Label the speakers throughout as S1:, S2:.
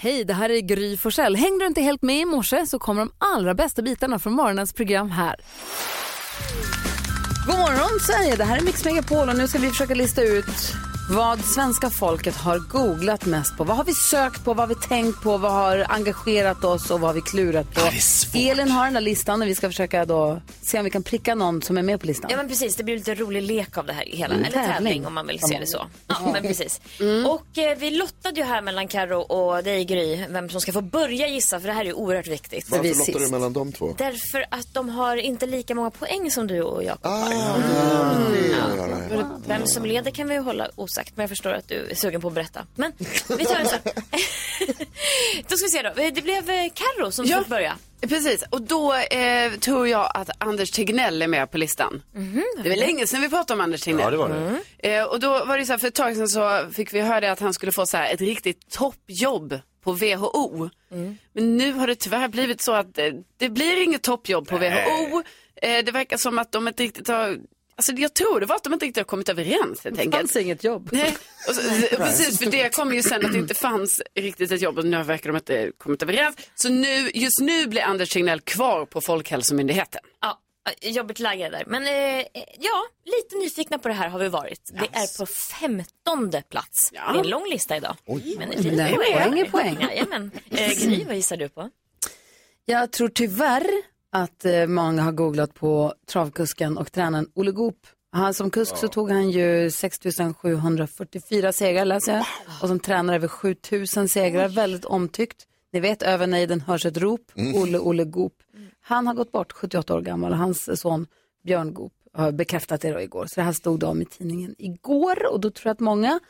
S1: Hej, det här är Gry Forssell. Hängde du inte helt med i morse så kommer de allra bästa bitarna från morgonens program här. God morgon Sverige, det här är Mix Megapol och nu ska vi försöka lista ut vad svenska folket har googlat mest på. Vad har vi sökt på, vad har vi tänkt på, vad har engagerat oss och vad har vi klurat på? Elin har den där listan och vi ska försöka då se om vi kan pricka någon som är med på listan.
S2: Ja men precis, det blir lite rolig lek av det här hela.
S1: Mm,
S2: Eller tävling.
S1: tävling Mm.
S2: om man vill se det så. Ja, men precis. Och eh, vi lottade ju här mellan Karo och dig Gry vem som ska få börja gissa för det här är ju oerhört viktigt.
S1: vi är
S3: Varför lottar du
S1: sist.
S3: mellan de två?
S2: Därför att de har inte lika många poäng som du och Jakob har.
S3: Ah,
S2: Mm. Vem som leder kan vi ju hålla osagt, men jag förstår att du är sugen på att berätta. Men vi tar det så. då ska vi se då. Det blev eh, Karo som
S4: Ja.
S2: fick börja.
S4: Precis, och då eh, tror jag att Anders Tegnell är med på listan. Mhm, Det var länge sedan vi pratade om Anders Tegnell.
S5: Ja, det var det.
S2: Mm.
S4: Eh, och då var det så här, för ett tag sedan så fick vi höra att han skulle få så här ett riktigt toppjobb på WHO.
S1: Mm.
S4: Men nu har det tyvärr blivit så att eh, det blir inget toppjobb på WHO. Eh, det verkar som att de inte riktigt har, alltså jag tror det var att de inte riktigt har kommit överens helt
S1: Det
S4: enkelt.
S1: fanns inget jobb.
S4: Nej, och så, precis, för det kom ju sen att det inte fanns riktigt ett jobb och nu verkar de inte kommit överens. Så nu, just nu blir Anders Tegnell kvar på Folkhälsomyndigheten.
S2: Ja, eh, jobbigt läge där. Men eh, ja, lite nyfikna på det här har vi varit. Det är på femtonde plats.
S4: Ja.
S2: Det är en lång lista idag.
S3: Oj.
S2: Men lite
S1: Nej, poäng är poäng.
S2: Jajamän. Eh, Gry, vad gissar du på?
S1: Jag tror tyvärr att eh, många har googlat på travkusken och tränaren Olle Goop. Han, som kusk så tog han ju 6744 segrar läser jag. Och som tränare över 7000 segrar. Väldigt omtyckt. Ni vet, över nejden hörs ett rop. Olle, Olle Goop. Han har gått bort, 78 år gammal. och Hans son Björn Goop har bekräftat det då igår. Så det här stod då om i tidningen igår. Och då tror jag att många,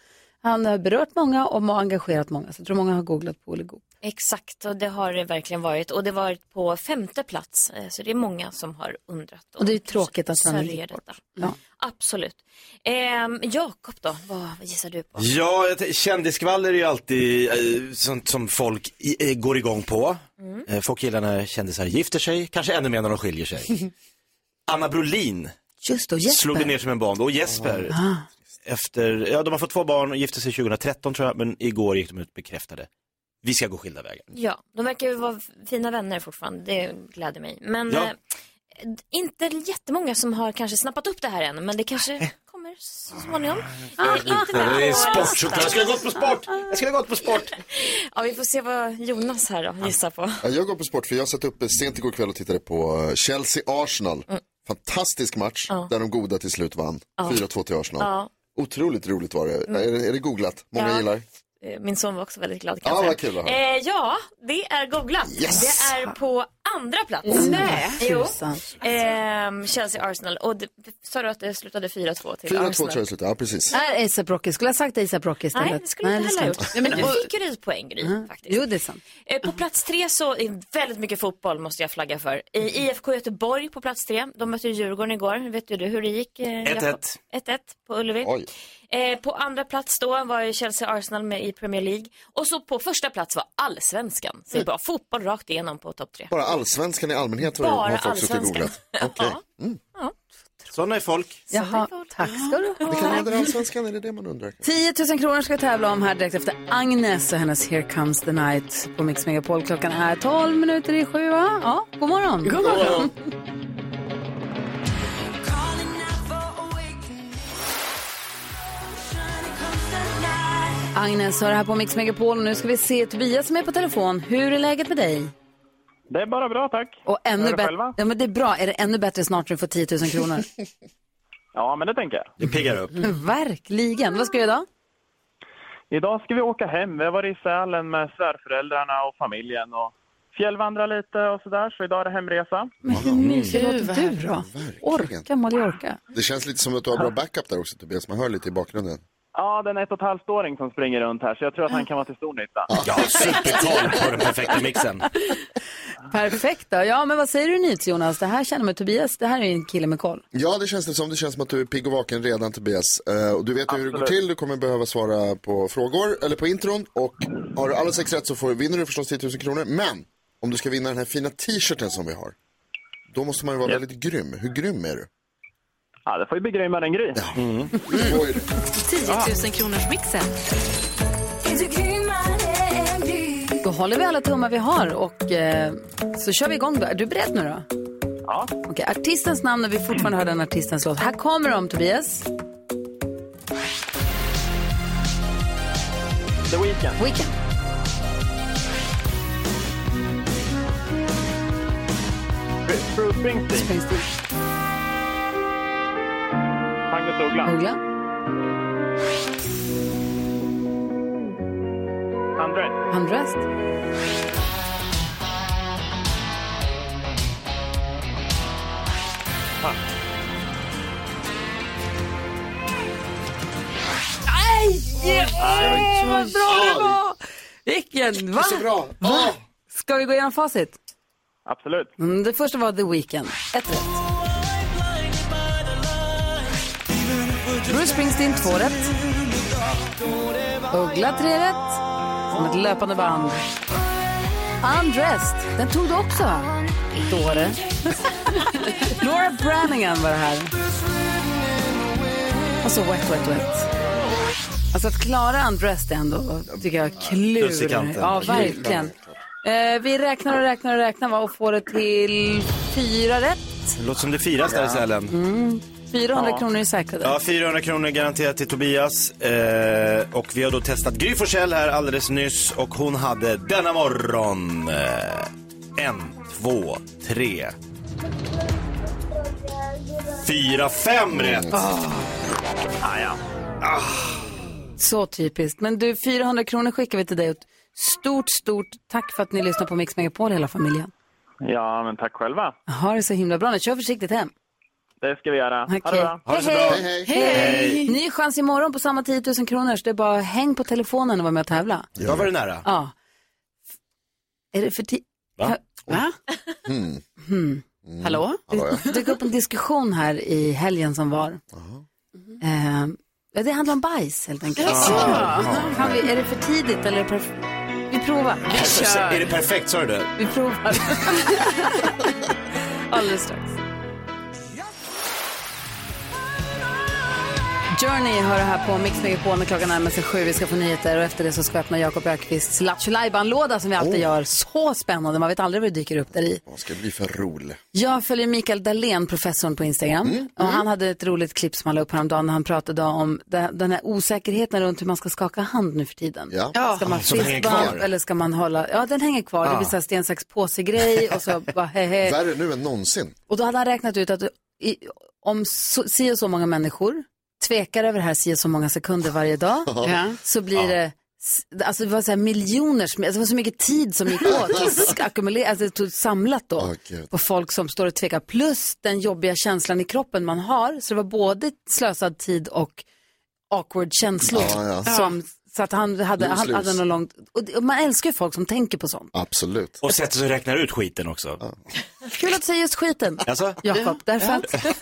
S1: han har berört många och har engagerat många. Så jag tror många har googlat på Olle Goop.
S2: Exakt, och det har det verkligen varit. Och det var på femte plats, eh, så det är många som har undrat.
S1: Och det är tråkigt att han
S2: sörjer
S1: gick bort.
S2: detta.
S1: Ja.
S2: Absolut. Ehm, Jakob då, vad vad gissar du på?
S5: Ja, jag t- kändisskvaller är ju alltid eh, sånt som folk i, eh, går igång på.
S1: Mm.
S5: Eh, folk gillar när kändisar gifter sig, kanske ännu mer när de skiljer sig. Anna Brolin
S1: Just då, Jesper. Ah.
S5: slog det ner som en bomb och Jesper. Efter, ja, de har fått två barn och gifte sig 2013 tror jag, men igår gick de ut bekräftade. Vi ska gå skilda vägar.
S2: Ja, de verkar ju vara f- fina vänner fortfarande. Det gläder mig. Men
S5: Ja.
S2: eh, d- inte jättemånga som har kanske snappat upp det här än, men det kanske kommer så småningom. Det är inte där på listan.
S5: Jag skulle ha gått på sport! Jag skulle ha gått på sport!
S2: Ja, vi får se vad Jonas här då gissar på.
S3: Ja, jag går på sport för jag satt uppe sent igår kväll och tittade på eh, Chelsea-Arsenal.
S2: Mm.
S3: Fantastisk match där de goda till slut vann. 4-2 till Arsenal.
S2: Ja. Mm.
S3: Otroligt roligt var det. Är, det- är det googlat? Många
S2: Ja.
S3: gillar.
S2: Eh, Min son var också väldigt glad. kan
S3: Ja,
S2: jag säga.
S3: vad kul att höra.
S2: eh, Ja, det är googlat.
S3: Yes! Oh,
S2: Det är på andra plats.
S4: Nej.
S2: Jo.
S1: Tusan.
S2: Ehm, Chelsea-Arsenal. Och det, sa du att det slutade 4-2 till
S3: 4-2 tror
S2: Arsenal?
S3: jag det slutade. Ja, precis.
S1: Nej, ASAP Rocky. Skulle jag sagt ASAP Rocky istället?
S2: Nej, det skulle du inte heller ha gjort.
S4: Nej,
S2: men
S4: men-
S2: du
S4: och-
S2: fick ju dig poäng, Gry,
S1: Mm.
S2: faktiskt.
S1: Jo, det är sant.
S2: Eh, På plats tre så är väldigt mycket fotboll måste jag flagga för. I IFK Göteborg på plats tre. De mötte ju Djurgården igår. Vet ju du hur det gick? eh, Jakob?
S5: 1-1.
S2: 1-1 på Ullevi.
S3: Oj.
S2: Eh, på andra plats då var ju Chelsea-Arsenal med i Premier League. Och så på första plats var allsvenskan. Så det är bara fotboll rakt igenom på topp tre.
S3: Mm. Bara allsvenskan i allmänhet har,
S2: Bara
S3: har folk suttit och
S2: allsvenskan.
S3: googlat. Okej.
S2: Ja.
S5: Sådana är folk.
S1: Jaha, tack ska du ha.
S3: Vilka länder i allsvenskan? Är det det man undrar?
S1: 10 000 kronor ska vi tävla om här direkt efter Agnes och hennes Here comes the night på Mix Megapol. Klockan är 12 minuter i sju, va? Ja, god morgon. God morgon. Agnes har det här på Mix Megapol och nu ska vi se Tobias som är på telefon. Hur är läget med dig?
S6: Det är bara bra, tack.
S1: Och ännu
S6: Hur är det
S1: bättre.
S6: själva?
S1: Ja, men det är bra. Är det ännu bättre snart när du får 10 000 kronor?
S6: Ja, men det tänker jag.
S5: Det piggar upp.
S1: Mm. Verkligen. Vad ska du göra idag?
S6: Idag ska vi åka hem. Vi har varit i Sälen med svärföräldrarna och familjen och fjällvandra lite och sådär, så idag är det hemresa.
S1: Men hur mysig
S5: Mm.
S1: låter du då?
S3: Verkligen.
S1: Orka Mallorca.
S3: Det känns lite som att du har bra backup där också Tobias. Man hör lite i bakgrunden.
S6: Ja, den är ett och ett halvt-åring som springer runt här, så jag tror att han kan vara till stor nytta.
S5: Ja, supertal på den perfekta mixen.
S1: Perfekt då. Ja, men vad säger du nyhets Jonas? Det här känner man Tobias, det här är en kille med koll.
S3: Ja, det känns det som. Det känns som att du är pigg och vaken redan Tobias. Eh, och du vet ju hur det går till. Du kommer behöva svara på frågor, eller på intron. Och har du alla sex rätt så får, vinner du förstås 10 000 kronor. Men om du ska vinna den här fina t-shirten som vi har, då måste man ju vara väldigt grym. Hur grym är du?
S6: Ja, det får ju bli grymmare än Gry.
S3: Oj,
S7: 10 000 kronors mixen.
S1: Då håller vi alla tummar vi har och eh, så kör vi igång då. Är du beredd nu då?
S6: Ja.
S1: Okej, artistens namn när vi fortfarande hör den artistens låt. Här kommer de, Tobias.
S6: The Weeknd.
S1: Weekend.
S6: Bru- Bruce Springsteen.
S1: Springsteen.
S6: Magnus Uggla.
S1: Uggla.
S6: André.
S1: Handrest. Aj! Vad bra det var! Vilken, va?
S3: Så bra. Åh!
S1: Ska vi gå igenom facit?
S6: Absolut.
S1: Mm, det första var The Weeknd. Ett rätt. Bruce Springsteen, två rätt. Uggla, tre rätt. Som ett löpande band. Undressed, den tog du också. Dåre. Laura Branningham var det här. Och så Wet Wet Wet. Alltså att klara Undressed är ändå, tycker jag,
S5: Plus i
S1: klur.
S5: kanten.
S1: Ja, verkligen. Eh, vi räknar och räknar och räknar va, och får det till fyra rätt.
S5: Det låter som det firas där i Sälen.
S1: Mm. 400 kronor är säkrade.
S5: Ja, 400 kronor garanterat till Tobias. Eh, och vi har då testat Gry Forssell här alldeles nyss och hon hade denna morgon eh, en, två, tre, fyra, fem rätt.
S1: Ah.
S5: Ah,
S1: Så typiskt. Men du, 400 kronor skickar vi till dig. Och ett Stort, stort tack för att ni lyssnar på Mix Megapol hela familjen.
S6: Ja, men tack själva.
S1: Ha det så himla bra nu. Kör försiktigt hem.
S6: Det ska vi göra. Ha det
S1: Okej.
S6: bra.
S5: Ha det så bra.
S3: Hej, hej.
S1: Hej! Ny chans imorgon på samma 10 000 kronor. Så det är bara häng på telefonen och var med och tävla.
S5: Jag var det nära.
S1: Ja. Är det för ti- Mm.
S5: Va? Mm.
S4: Va?
S2: Mm.
S4: Hallå?
S3: Hallå,
S1: Det dök upp en diskussion här i helgen som var. Eh, ja, det handlar om bajs helt enkelt. Kan vi, är det för tidigt eller är det perf- Vi provar.
S5: Är det perfekt, sa du det?
S1: Vi provar. Alldeles strax. Journey hör det här på Mix Megapol när klockan närmar sig sju. Vi ska få nyheter och efter det så ska vi öppna Jakob Ökvists Lattjo låda som vi alltid gör. Så spännande, man vet aldrig vad det dyker upp där i.
S3: Vad ska det bli för rol?
S1: Jag följer Mikael Dahlén, professorn på Instagram. Och han hade ett roligt klipp som han la upp häromdagen när han pratade om de- den här osäkerheten runt hur man ska skaka hand nu för tiden.
S3: Ja.
S1: Ska man
S5: som hänger
S1: fistbump
S5: kvar.
S1: eller ska man hålla, ja den hänger kvar, det blir så här sten, sax, påse grej och så bara he, he.
S3: Värre nu än någonsin.
S1: Och då hade han räknat ut att i, om så, si och så många människor tvekar över det här si och så många sekunder varje dag
S4: Ja.
S1: så blir det s- Alltså det var så här miljoner, sm- alltså det var så mycket tid som gick åt, sk- ackumulerat, alltså det tog samlat då
S3: Åh, Gud.
S1: på folk som står och tvekar. Plus den jobbiga känslan i kroppen man har, så det var både slösad tid och awkward känslor.
S3: Ja,
S1: Som, så att han hade,
S3: Lose,
S1: han hade
S3: lose.
S1: något långt, och det- och man älskar ju folk som tänker på sånt.
S3: Absolut.
S5: Och sättet som räknar ut skiten också.
S1: Kul att du säger just skiten.
S5: Alltså?
S1: Jakob, därför att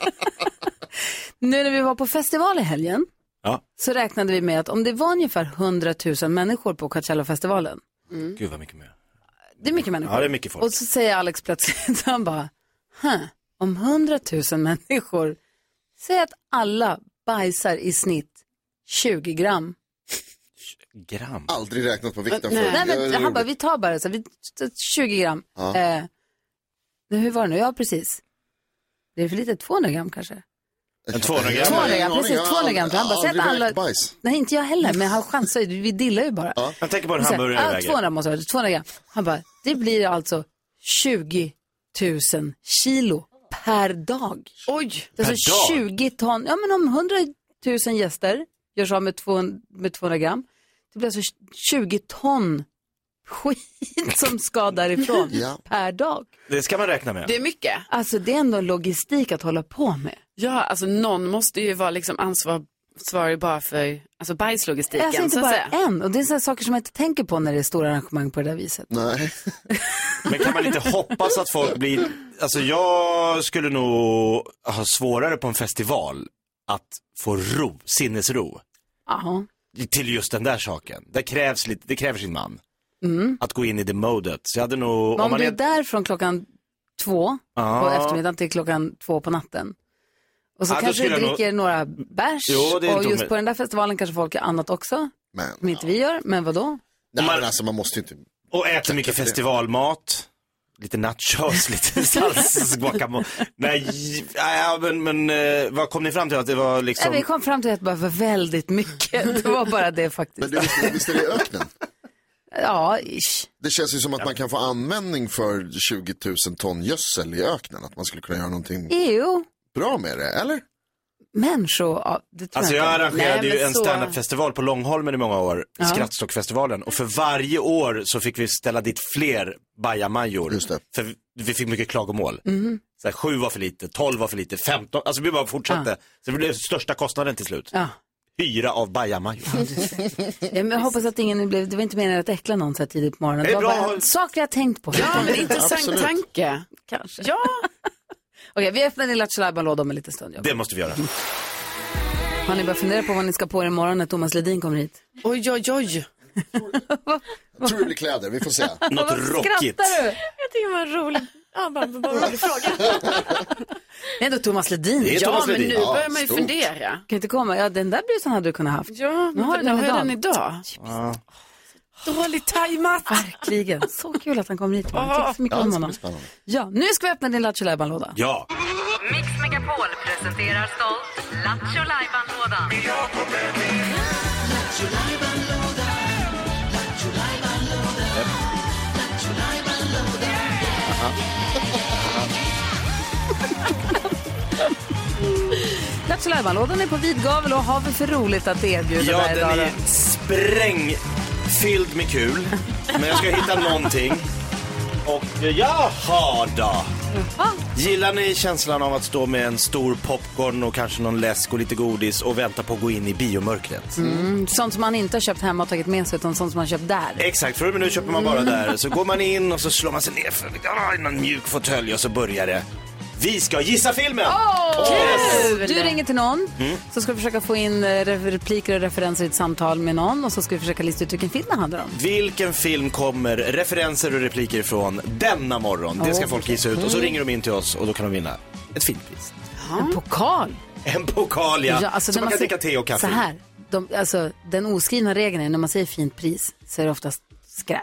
S1: nu när vi var på festival i helgen
S5: Ja.
S1: så räknade vi med att om det var ungefär 100 000 människor på Coachella-festivalen,
S5: Gud vad mycket mer.
S1: det är mycket människor.
S5: Ja, det är mycket folk.
S1: Och så säger Alex plötsligt, han bara, huh, om 100 000 människor, säg att alla bajsar i snitt 20 gram.
S5: Gram.
S3: Aldrig räknat på vikten
S4: Nej.
S3: förut.
S1: Nej,
S3: Det är
S1: men han
S3: roligt.
S1: bara, vi tar bara så, här, vi, 20 gram.
S3: Ja.
S1: Eh, nu, hur var det nu? Ja, precis. Det är för lite, 200 gram kanske?
S5: En 200
S3: Jag har
S5: gram.
S1: Två
S3: ingen
S1: gram,
S3: aning.
S1: precis,
S3: Jag har
S1: två gram. Han bara,
S3: aldrig
S1: sätt alla-
S3: räkt Bajs.
S1: Nej, inte jag heller, men han chansar ju. Vi dillar ju bara.
S5: Jag tänker på en
S1: Och sen,
S5: hamburgare
S1: ja,
S5: väger.
S1: 200 måste det vara, 200 gram. Han bara, det blir alltså 20 000 kilo per dag.
S4: Oj.
S1: Det är
S5: Per
S1: alltså
S5: dag?
S1: 20 ton. Ja, men om 100 000 gäster gör så med 200, med 200 gram, det blir alltså 20 ton skit som ska därifrån
S3: Ja.
S1: per dag.
S5: Det ska man räkna med.
S4: Det är mycket.
S1: Alltså det är ändå en logistik att hålla på med.
S4: Ja, alltså någon måste ju vara liksom ansvar- ansvarig bara för alltså bajslogistiken.
S1: Alltså inte
S4: så att
S1: bara
S4: säga.
S1: en. Och det är sådana saker som jag inte tänker på när det är stora arrangemang på det där viset.
S3: Nej.
S5: Men kan man inte hoppas att folk blir, alltså jag skulle nog ha svårare på en festival att få ro, sinnesro
S1: Jaha.
S5: till just den där saken. Det krävs lite, det kräver sin man. Att gå in i det modet. Så jag hade nog,
S1: Men mm. om, du är där från klockan två på
S5: Ja.
S1: eftermiddagen till klockan två på natten. Och
S5: Ja,
S1: så
S5: då
S1: kanske du
S5: skulle jag
S1: dricker några bärs.
S5: Jo, det är
S1: och
S5: inte
S1: just
S5: omöjligt.
S1: på den där festivalen kanske folk gör annat också.
S3: Men,
S1: Som inte vi gör, men vadå?
S3: nej, men alltså, man måste ju inte
S5: Och äter mycket festivalmat. Lite nachos, lite salsa, guacamole. Nej, ja, men, men eh, vad kom ni fram till? Att det var
S1: Nej, vi
S5: liksom...
S1: kom fram till att det bara var väldigt mycket. Det var bara det
S3: Men
S1: faktiskt.
S3: du, visst, visst är det i öknen?
S1: Ja, ish.
S3: Det känns ju som att man kan få användning för 20 000 ton gödsel i öknen. Att man skulle kunna göra någonting
S1: Jo,
S3: bra med det, eller?
S1: E människor. Ja, det tror
S5: Alltså jag
S1: jag inte.
S5: arrangerade
S4: Nej,
S5: ju
S4: men
S5: en
S4: så-
S5: standupfestival på Långholmen i många år, Skrattstockfestivalen. Och för varje år så fick vi ställa dit fler bajamajor.
S3: Just det.
S5: För vi- vi fick mycket klagomål.
S4: Mhm. Mm.
S5: Så här, sju var för lite, tolv var för lite, femton, alltså vi bara fortsatte. Så det blev största kostnaden till slut.
S1: Ja.
S5: Hyra av bajamajor.
S1: Ja, men Jag hoppas att ingen blev, det var inte meningen att äckla någon så här tidigt på morgonen.
S5: Det
S1: Det
S5: är
S1: var
S5: bra.
S1: bara saker jag tänkt på.
S4: Ja, men intressant
S3: Absolut.
S4: tanke.
S1: Kanske. Ja. Okej, vi öppnar Lilla Tjalajban-låda om en liten stund. Jakob.
S5: Det måste vi göra.
S1: Har ni börjat fundera på vad ni ska på er imorgon när Thomas Ledin kommer hit?
S4: Oj, oj, oj.
S3: Jag tror det blir kläder, vi får se.
S5: Något rockigt.
S1: Skrattar du?
S2: Jag tycker det var en rolig, ja, bara, bara en rolig fråga.
S1: Det är ändå Thomas Ledin.
S5: Det är
S1: Ja,
S4: Ja,
S5: Thomas
S4: men
S5: Ledin.
S4: nu
S5: Ja,
S4: börjar man ju
S3: stort.
S4: fundera.
S1: kan inte komma. Ja, den där brusen hade du kunnat haft.
S4: Ja, men
S1: har
S4: har
S1: den
S4: den, har
S1: idag.
S4: jag den idag. Dåligt tajmat.
S1: Verkligen. Så kul att han kommer hit. Man. Jag tycker så mycket
S3: Ja, det
S1: om
S3: ska
S1: honom.
S3: bli spännande.
S1: Ja, nu ska vi öppna din Lattjo Lajban-låda.
S5: Ja,
S7: Mix Megapol presenterar stolt Lattjo Lajban-lådan.
S1: Lattjo Lajban-lådan är på vid gavel och har vi för roligt att erbjuda
S5: ja
S1: där
S5: den
S1: idag.
S5: är sprängfylld med kul. Men jag ska hitta någonting. Och eh, jaha då. Gillar ni känslan av att stå med en stor popcorn och kanske någon läsk och lite godis och vänta på att gå in i biomörkret?
S1: Mm, Sånt som man inte har köpt hemma och tagit med sig utan sånt som man köpt där.
S5: Exakt, för en minut köper man bara där. Så går man in och så slår man sig ner för ah, i någon mjuk fåtölj och så börjar det. Vi ska gissa filmen!
S1: Du ringer till någon,
S5: Mm.
S1: så ska du försöka få in eh, re- repliker och referenser i ett samtal med någon och så ska vi försöka lista ut vilken film det handlar om.
S5: Vilken film kommer referenser och repliker från denna morgon? Det ska folk gissa ut och så
S1: Mm.
S5: ringer de in till oss och då kan de vinna ett filmpris.
S1: En pokal!
S5: En pokal ja,
S1: alltså,
S5: så
S1: när
S5: man kan
S1: säger-
S5: dricka te och kaffe
S1: Så
S5: i.
S1: här, de, alltså, den oskrivna regeln är när man säger fint pris så är det oftast skräp.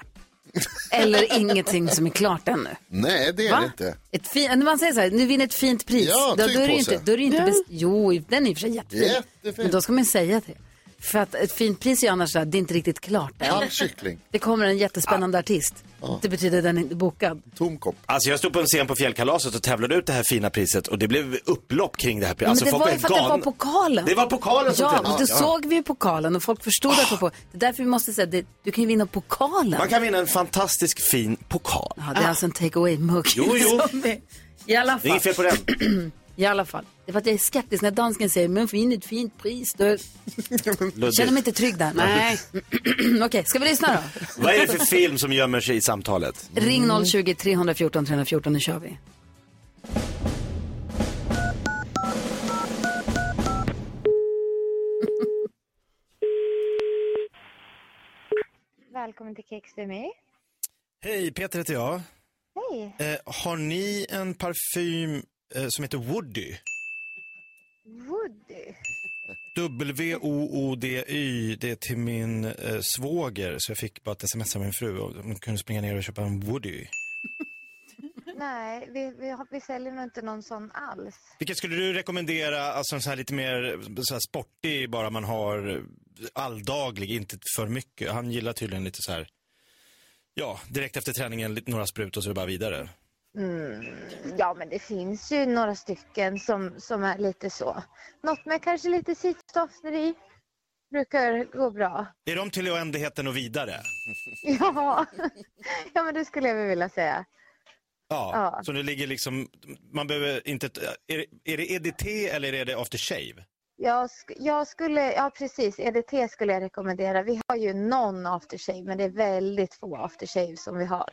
S1: Eller ingenting som är klart ännu.
S3: Nej, det är det inte.
S1: Ett fin, när man säger så här, nu vinner ett fint pris.
S3: Ja,
S1: då, då är det ju
S3: tygpåse.
S1: inte, då är det ju inte bes- Jo, den är i och för sig jättefin.
S3: Jättefin.
S1: Men då ska man ju säga det. För att ett fint pris är ju annars så här, det är inte riktigt klart än.
S3: Halv kyckling,
S1: Det kommer en
S5: Ah.
S1: jättespännande artist. Det betyder att den är inte bokad.
S3: tom kopp.
S5: Alltså jag stod på en scen på Fjällkalaset och tävlade ut det här fina priset och det blev upplopp kring det här priset. Alltså,
S1: men det
S5: folk
S1: var ju för att det var
S5: galna.
S1: pokalen.
S5: Det var pokalen som
S1: Ja,
S5: tävlade.
S1: men då såg vi ju pokalen och folk förstod att det var på. Det är därför vi måste säga att du kan ju vinna pokalen.
S5: Man kan vinna en fantastisk fin pokal. Ah.
S1: Ja, det är alltså en take away-mugg.
S5: Jo, jo.
S1: som är- I alla
S5: Det är
S1: fall.
S5: inget fel på den.
S1: I alla fall. Det är för att jag är skeptisk när dansken säger men fin ett fint pris. Då känner mig
S5: Ludvig.
S1: inte trygg där.
S4: Nej.
S1: Okej, ska vi lyssna då?
S5: Vad är det för film som gömmer sig i samtalet?
S1: Ring 020 314 314, nu kör vi.
S8: Välkommen till Kex för mig.
S5: Hej, Peter heter jag.
S8: Hej.
S5: Eh, har ni en parfym eh, som heter Woody?
S8: Woody.
S5: W-O-O-D-Y, det är till min eh, svåger. Så jag fick bara ett sms av min fru och hon kunde springa ner och köpa en Woody.
S8: Nej, vi, vi, har, vi säljer nog inte någon sån alls.
S5: Vilket skulle du rekommendera, alltså en sån här lite mer så här sportig, bara man har eh, alldaglig, inte för mycket. Han gillar tydligen lite så här, ja, direkt efter träningen, lite- några sprut och så är det bara vidare.
S8: Ja, men det finns ju några stycken som, som är lite så. Något med kanske lite citrussafter i. Brukar gå bra.
S5: Är de till oändligheten och vidare?
S8: Ja. ja, men det skulle jag väl vilja säga.
S5: Ja,
S8: Ja.
S5: så det ligger liksom, man behöver inte, är, det- är det EDT eller är det after shave?
S8: Jag, sk- jag skulle, ja precis, EDT skulle jag rekommendera. Vi har ju någon aftershave, men det är väldigt få aftershave som vi har.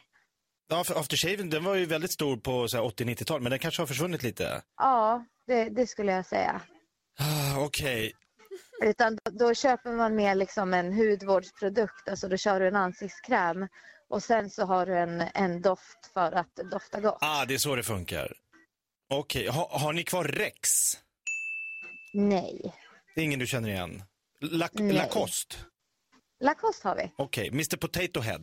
S5: Ja, för aftershaven den var ju väldigt stor på så här 80-90-tal, men den kanske har försvunnit lite.
S8: Ja, det, det skulle jag säga.
S5: Ah, Okej,
S8: Utan då, då köper man mer liksom en hudvårdsprodukt, alltså då kör du en ansiktskräm och sen så har du en, en doft för att dofta gott.
S5: ah, det är så det funkar. Okej, ha, har ni kvar Rex?
S8: Nej,
S5: Det är ingen du känner igen? Lac-
S8: Nej.
S5: Lacoste?
S8: Lacoste har vi.
S5: Okej, Mr Potato Head.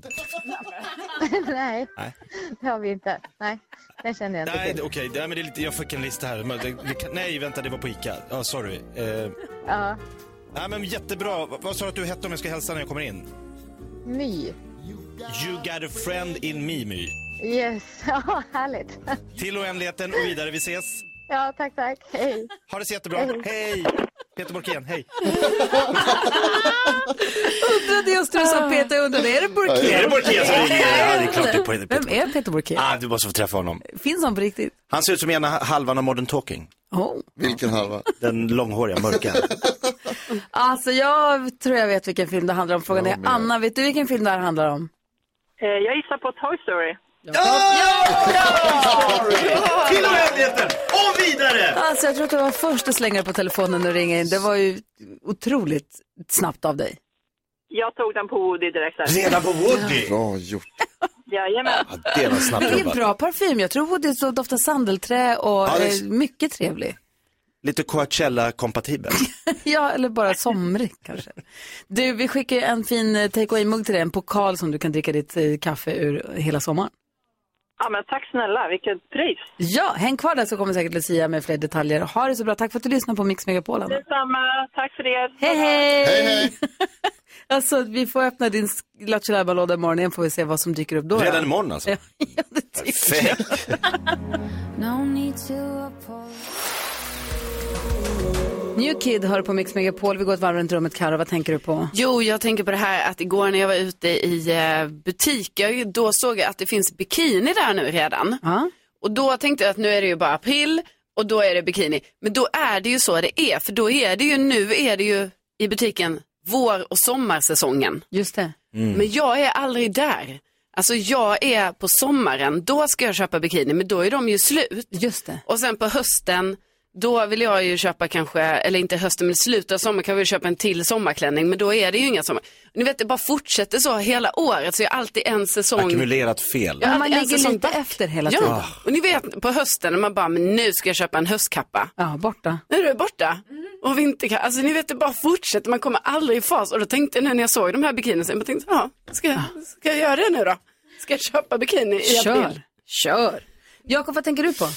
S8: Nej,
S5: Nej.
S8: det har vi inte. Nej, den känner jag inte
S5: Nej,
S8: till.
S5: det- okej, okay. det är lite, jag fick en lista här. Men det, det, kan- nej, vänta, det var på ICA. Ja, sorry. Eh,
S8: Ja,
S5: nej, men jättebra. Vad vad sa du att du hette om jag ska hälsa när jag kommer in?
S8: My.
S5: You got a friend in me, My.
S8: Yes, ja, härligt.
S5: Till oändligheten och vidare, vi ses.
S8: Ja, tack, tack. Hej.
S5: Ha det så jättebra. Hej! Peter Borkén, hej.
S1: Undrade just när du sa Peter, jag undrade, är det
S5: Är det
S1: Burkén?
S5: Borkén som ringer? Ja, det är klart det är på- det är
S1: Vem
S5: Peter.
S1: är Peter Burkén?
S5: Ah, du måste få träffa honom.
S1: Finns han på riktigt?
S5: Han ser ut som ena halvan av Modern Talking.
S1: Oh.
S3: Vilken halva?
S5: Den långhåriga, mörka.
S1: Alltså jag tror jag vet vilken film det handlar om. Frågan
S3: Ja,
S1: är,
S3: men-
S1: Anna, vet du vilken film det här handlar om?
S9: Eh, Jag gissar på Toy Story.
S5: Till oändligheten och vidare!
S1: Alltså jag tror att du var först att slänga på telefonen och ringa in. Det var ju otroligt snabbt av dig.
S9: Jag tog den på Woody direkt där.
S5: Redan på Woody.
S3: Bra gjort.
S9: Jajamän.
S5: Ja, det var snabbt
S1: Det är en
S5: jobbat.
S1: bra parfym. Jag tror Woody så doftar sandelträ och
S5: Ja, det
S1: är
S5: är-
S1: mycket trevlig.
S5: Lite Coachella-kompatibel.
S1: Ja, eller bara somrig kanske. Du, vi skickar ju en fin eh, take away-mugg till dig, en pokal som du kan dricka ditt eh, kaffe ur hela sommaren.
S9: Ja, men tack snälla, vilket pris.
S1: Ja, häng kvar där så kommer säkert Lucia med fler detaljer. Ha det så bra. Tack för att du lyssnar på Mix Megapol, Anna.
S9: Detsamma, tack för er.
S1: Hej, hej!
S3: Hej, hej.
S1: Alltså, vi får öppna din Lattjo Lajban-låda imorgon igen får vi se vad som dyker upp då.
S5: Redan imorgon alltså.
S1: Ja, det tycker jag.
S5: Perfekt.
S1: New Kid hör på Mix Megapol. Vi går ett varv runt rummet. Karo, vad tänker du på?
S4: Jo, jag tänker på det här att igår när jag var ute i eh, butiker, då såg jag att det finns bikini där nu redan.
S1: Ja.
S4: Och då tänkte jag att nu är det ju bara april och då är det bikini. Men då är det ju så det är, för då är det ju nu är det ju i butiken vår och sommarsäsongen.
S1: Just det.
S4: Men jag är aldrig där. Alltså jag är på sommaren, då ska jag köpa bikini, men då är de ju slut.
S1: Just det.
S4: Och sen på hösten, då vill jag ju köpa kanske, eller inte hösten, men i slutet av sommaren kan jag väl köpa en till sommarklänning, men då är det ju inga sommar. Ni vet, det bara fortsätter så hela året, så jag har alltid en säsong.
S5: Ackumulerat fel.
S4: Ja,
S1: Men alltså, man
S4: en
S1: ligger
S4: säsong
S1: lite
S4: back.
S1: efter hela tiden.
S4: Ja, och ni vet på hösten när man bara, men nu ska jag köpa en höstkappa.
S1: Ja, borta.
S4: Nu är det borta. Och vinterkappa, alltså ni vet det bara fortsätter, man kommer aldrig i fas. Och då tänkte jag nu när jag såg de här bikinierna, jag tänkte, ja, ska jag, ska jag göra det nu då? Ska jag köpa bikini i april?
S1: Kör. Kör. Jakob, vad tänker du på?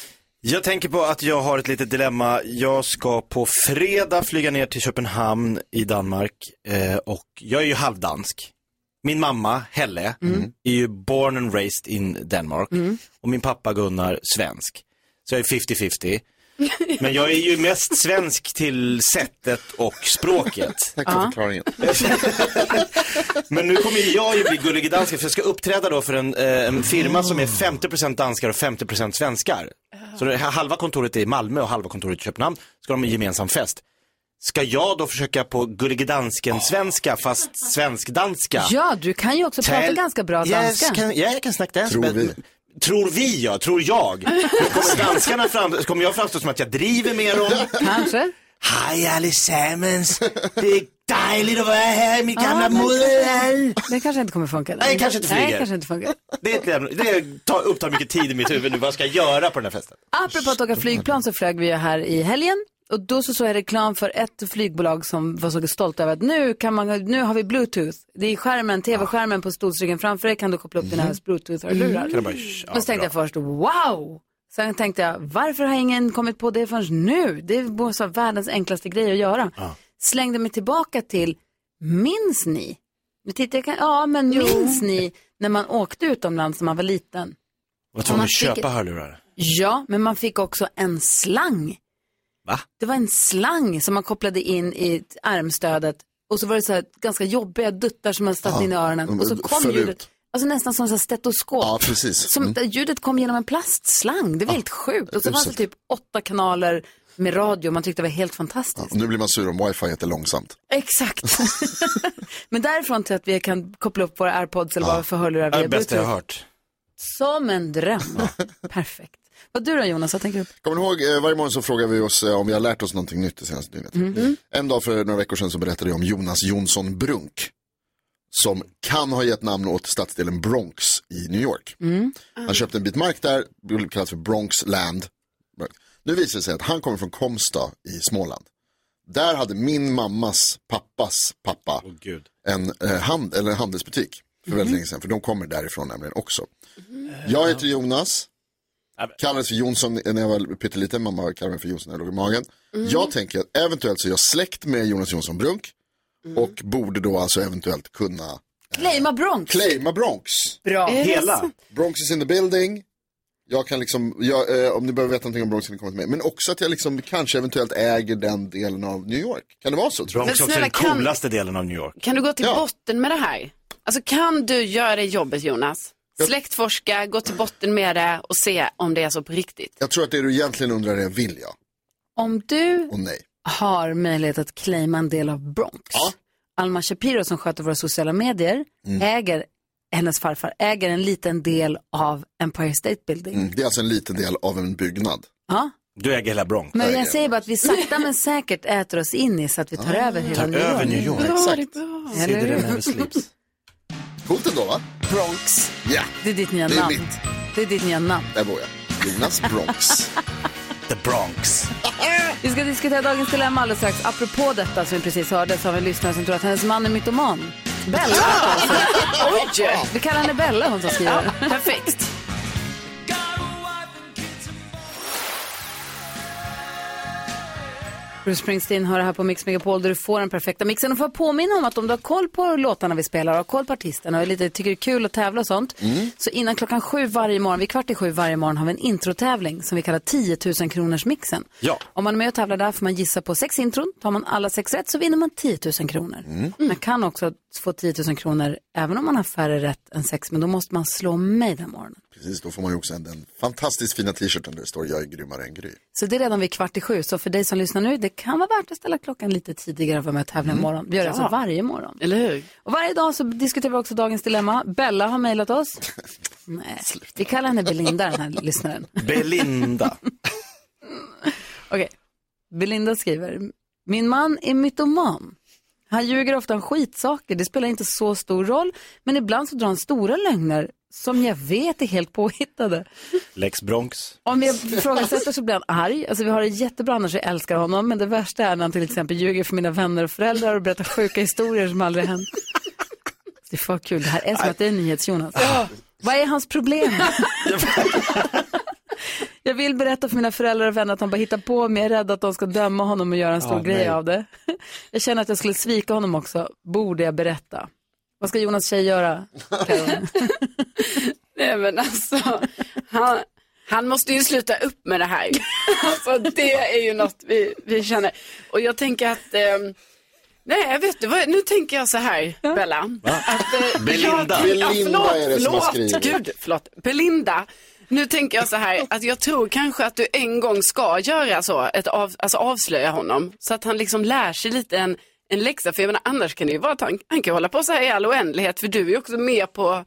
S5: Jag tänker på att jag har ett litet dilemma. Jag ska på fredag flyga ner till Köpenhamn i Danmark eh, och jag är ju halvdansk. Min mamma, Helle, är ju born and raised in Denmark och min pappa Gunnar, svensk. Så jag är 50-50. Men jag är ju mest svensk till sättet och språket.
S3: Tack för förklaringen.
S5: Men nu kommer ju jag ju bli gullig i danska för jag ska uppträda då för en, eh, en firma som är 50% danskar och 50% svenskar. Så det här, halva kontoret är i Malmö och halva kontoret i Köpenhamn. Ska de ha en gemensam fest. Ska jag då försöka på gullig dansken-svenska fast svensk-danska?
S1: Ja, du kan ju också prata
S5: Tell-
S1: ganska bra
S5: yes,
S1: danska.
S5: Can, yeah, jag kan snacka danska.
S3: Tror
S5: men-
S3: vi.
S5: Tror vi ja, tror jag. Men kommer danskarna fram, kommer jag framstå som att jag driver med dem?
S1: Kanske.
S5: Hej allesammans, det är dejligt att vara här i mitt gamla moderland.
S1: Det kanske inte kommer funka.
S5: Nej, kanske inte
S1: Nej,
S5: flyger.
S1: kanske inte funkar.
S5: Det, är ett lämn- det tar, upptar mycket tid i mitt huvud nu, vad ska jag göra på den här festen?
S1: Apropå att åka flygplan så flög vi ju här i helgen. Och då så såg jag reklam för ett flygbolag som var så stolt över att nu, kan man, nu har vi bluetooth. Det är skärmen, tv-skärmen på stolsryggen framför dig kan du koppla upp dina bluetooth-hörlurar.
S5: Mm. Kan jag bara, "Sh, ja,
S1: Och så tänkte jag
S5: bra."
S1: först, wow! Sen tänkte jag, varför har ingen kommit på det förrän nu? Det måste vara världens enklaste grej att göra. Slängde mig tillbaka till, minns ni? Nu tittar jag, kan- ja men minns ni när man åkte utomlands när man var liten?
S5: Var
S1: Om
S5: tvungen
S1: man
S5: att
S1: fick-
S5: köpa hörlurar?
S1: Ja, men man fick också en slang.
S5: Va?
S1: Det var en slang som man kopplade in i armstödet och så var det så här ganska jobbiga duttar som man satte in i
S5: Ah,
S1: öronen och så
S3: de
S1: kom
S3: föll
S1: ljudet.
S3: ut.
S1: Alltså nästan som så här stetoskop.
S3: Ja, precis. Mm.
S1: Som,
S5: Mm.
S1: där Ljudet kom genom en plastslang,
S5: Ah,
S1: det var helt sjukt. Och så fanns det
S3: uselt.
S1: typ åtta kanaler med radio, man tyckte det var helt fantastiskt.
S3: Nu blir man sur om wifi heter långsamt.
S1: Exakt. Men därifrån till att vi kan koppla upp våra airpods eller vad för
S5: Det är
S1: hörlurar
S5: det
S1: vi
S5: bästa jag har hört.
S1: Som en dröm. Perfekt. Vad du då Jonas, vad tänker du?
S3: Kommer ni ihåg, eh, varje morgon så frågar vi oss eh, om vi har lärt oss någonting nytt det senaste dygnet. En dag för några veckor sedan så berättade jag om Jonas Jonsson Brunk. Som kan ha gett namn åt stadsdelen Bronx i New York. Han köpte en bit mark där, kallat för Bronx Land. Nu visar det sig att han kommer från Komsta i Småland. Där hade min mammas pappas pappa
S5: Åh gud.
S3: en, eh, hand, eller en handelsbutik för väldigt länge sedan, för de kommer därifrån nämligen också. Jag heter Jonas,
S5: Eh, Ja, men-
S3: kallades för Jonsson när jag var pytteliten, mamma kallade mig för Jonsson när jag låg i magen.
S5: Mm.
S3: Jag tänker att eventuellt så är jag släkt med Jonas Jonsson Brunk
S5: Mm.
S3: och borde då alltså eventuellt kunna
S1: Claima Bronx.
S3: claima Bronx.
S1: Bra.
S5: Hela.
S3: Bronx is in the building. Jag kan liksom, jag, eh, om ni behöver veta någonting om Bronx kan ni komma till mig. Men också att jag liksom kanske eventuellt äger den delen av New York. Kan det vara så? Tror
S5: Bronx
S3: jag?
S4: Men
S5: också är
S4: snälla,
S5: den
S4: kan-
S5: coolaste delen av New York.
S4: Kan du gå till
S3: Ja.
S4: botten med det här? Alltså kan du göra det jobbet Jonas? Släktforska, gå till botten med det och se om det är så på riktigt.
S3: jag tror att det du egentligen undrar är, vill jag?
S1: Om du
S3: Och nej.
S1: har möjlighet att claima en del av Bronx.
S3: Ja.
S1: Alma Shapiro som sköter våra sociala medier äger, hennes farfar äger en liten del av Empire State Building.
S3: Mm, det är alltså en liten del av en byggnad.
S1: Ja.
S5: Du äger hela Bronx.
S1: Men
S3: Verkligen.
S1: jag säger bara att vi sakta men säkert äter oss in i så att vi tar över hela New
S5: över
S1: York.
S5: New York.
S3: Exakt.
S1: Eller
S5: Sidor
S1: hur?
S5: never sleeps.
S3: Coolt ändå va?
S1: Bronx.
S3: Ja,
S1: Det är ditt nya
S3: det är
S1: namn.
S3: mitt.
S1: Det är ditt nya namn.
S3: Där bor jag. Jonas Bronx.
S5: The Bronx.
S1: Vi ska diskutera dagens dilemma alldeles strax. Apropå detta som vi precis hörde så har vi en lyssnare som tror att hennes man är mytoman. Bella alltså. Oj! Vi kallar henne Bella hon som skriver.
S4: Perfekt.
S1: Bruce Springsteen hör det här på Mix Megapol där du får den perfekta mixen. Och får jag påminna om att om du har koll på låtarna vi spelar, har koll på artisterna och lite tycker det är kul att tävla och sånt. Så innan klockan sju varje morgon, vid kvart i sju varje morgon har vi en introtävling som vi kallar 10 000 kronors mixen.
S5: Ja.
S1: Om man är med och tävlar där får man gissa på sex intron. Tar man alla sex rätt så vinner man 10 000 kronor. Man kan också få 10 000 kronor även om man har färre rätt än sex, men då måste man slå mig den morgonen.
S3: Precis, då får man ju också den fantastiskt fina t-shirten där det står jag är grymmare än Gry.
S1: Så det är redan vid kvart i sju. Så för dig som lyssnar nu, det kan vara värt att ställa klockan lite tidigare och vara med och tävla imorgon. Vi gör det alltså varje morgon.
S4: Mm. Eller hur?
S1: Och varje dag så diskuterar vi också dagens dilemma. Bella har mejlat oss. Nej, vi kallar henne Belinda, den här lyssnaren.
S5: Belinda.
S1: Okej, Belinda skriver. Min man är mytoman. Han ljuger ofta om skitsaker. Det spelar inte så stor roll, men ibland så drar han stora lögner som jag vet är helt påhittade.
S5: Lex Bronx.
S1: Om jag ifrågasätter så blir han arg. Alltså vi har det jättebra annars, jag älskar honom. Men det värsta är när han till exempel ljuger för mina vänner och föräldrar och berättar sjuka historier som aldrig hänt. Det är för kul. Det här är som att det är NyhetsJonas. Vad är hans problem? jag vill berätta för mina föräldrar och vänner att han bara hittar på mig. Jag är rädd att de ska döma honom och göra en stor
S5: Ja,
S1: grej
S5: nej.
S1: av det. Jag känner att jag skulle svika honom också. Borde jag berätta? Vad ska Jonas tjej göra? Karin?
S4: Nej men alltså, han, han måste ju sluta upp med det här. Alltså det är ju något vi, vi känner. Och jag tänker att, ehm, nej vet du vad, nu tänker jag så här Bella. Att, eh,
S5: Belinda.
S4: jag-
S3: Belinda
S4: ja, förlåt,
S3: är det som har
S4: förlåt,
S3: skrivit.
S4: Gud, förlåt. Belinda. Nu tänker jag så här att jag tror kanske att du en gång ska göra så, ett av, alltså avslöja honom. Så att han liksom lär sig lite en, en läxa. För jag menar annars kan det ju vara att han, han kan hålla på så här i all oändlighet. För du är ju också med på,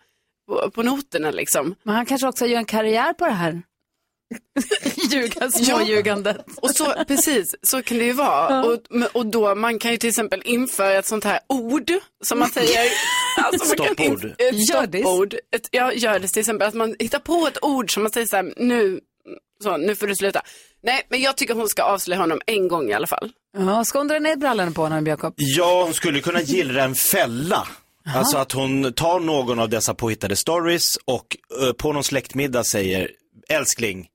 S4: på, på noterna liksom.
S1: Men han kanske också gör en karriär på det här. Ljuga, småljugandet.
S4: Och så, precis, så kan det ju vara. Och, men- och då, man kan ju till exempel införa ett sånt här ord som man säger. Alltså man kan in-
S5: Stoppord.
S4: Ett
S1: Gördis.
S4: stoppord. Ett, ja, gördis till exempel. Att man hittar på ett ord som man säger så här, nu, så, nu får du sluta. Nej, men jag tycker hon ska avslöja honom en gång i alla fall.
S1: Ja, ska hon dra ner brallorna på honom, Jakob?
S5: Ja, hon skulle kunna gillra en fälla. Alltså att hon tar någon av dessa påhittade stories och eh, på någon släktmiddag säger, älskling,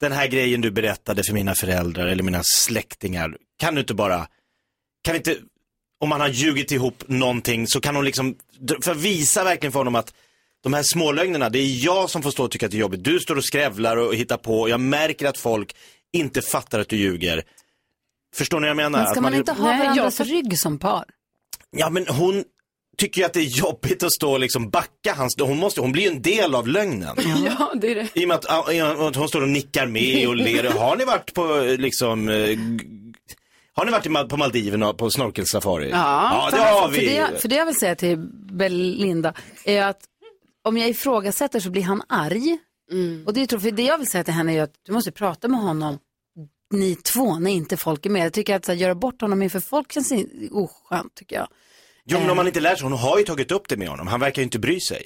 S5: den här grejen du berättade för mina föräldrar eller mina släktingar, kan du inte bara, kan inte, om man har ljugit ihop någonting så kan hon liksom, för att visa verkligen för honom att de här smålögnerna, det är jag som får stå och tycka att det är jobbigt. Du står och skrävlar och hittar på och jag märker att folk inte fattar att du ljuger. Förstår ni vad jag menar?
S1: Men ska
S5: Att
S1: man, inte ha
S4: Nej, jag
S1: varandras
S4: för-
S1: rygg som par?
S5: Ja men hon tycker ju att det är jobbigt att stå och liksom backa hans, hon, måste, hon blir ju en del av lögnen.
S4: Ja, det är det.
S5: I och med att, i och med att hon står och nickar med och ler. Har ni varit på eh, liksom, eh, g- har ni varit i Ma- på Maldiverna på snorkelsafari?
S4: Ja.
S5: ja det har
S1: För det,
S5: vi.
S1: jag, för det jag vill säga till Belinda är att om jag ifrågasätter så blir han arg. Och det, är tro- för det jag vill säga till henne är att du måste prata med honom, ni två, när inte folk är med. Jag tycker att så här, göra bort honom inför folk känns in- oskönt, tycker jag.
S5: Jo men om man inte lär sig, hon har ju tagit upp det med honom. Han verkar ju inte bry sig.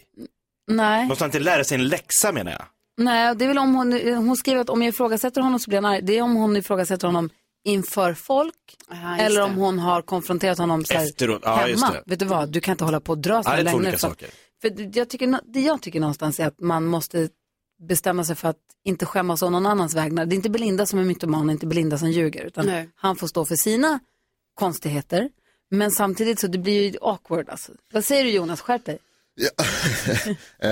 S1: Nej.
S5: Måste han inte lära sig en läxa menar jag?
S1: Nej, det är väl om hon, hon skriver att om jag ifrågasätter honom så blir han arg. Det är om hon ifrågasätter honom inför folk
S4: Ah, just
S1: eller
S4: det.
S1: om hon har konfronterat honom så här,
S5: Efteråt, ja, just
S1: hemma.
S5: det.
S1: Vet du vad, du kan inte hålla på och dra
S5: Ja, det
S1: sådana
S5: är två
S1: lögner.
S5: olika
S1: för-
S5: saker.
S1: För det- jag tycker, nå- det jag tycker någonstans är att man måste bestämma sig för att inte skämmas av någon annans vägnar. Det är inte Belinda som är mytoman, det är inte Belinda som ljuger, utan
S4: Nej.
S1: han får stå för sina konstigheter. Men samtidigt så det blir ju awkward alltså. Vad säger du Jonas, skärp dig.
S3: Eh,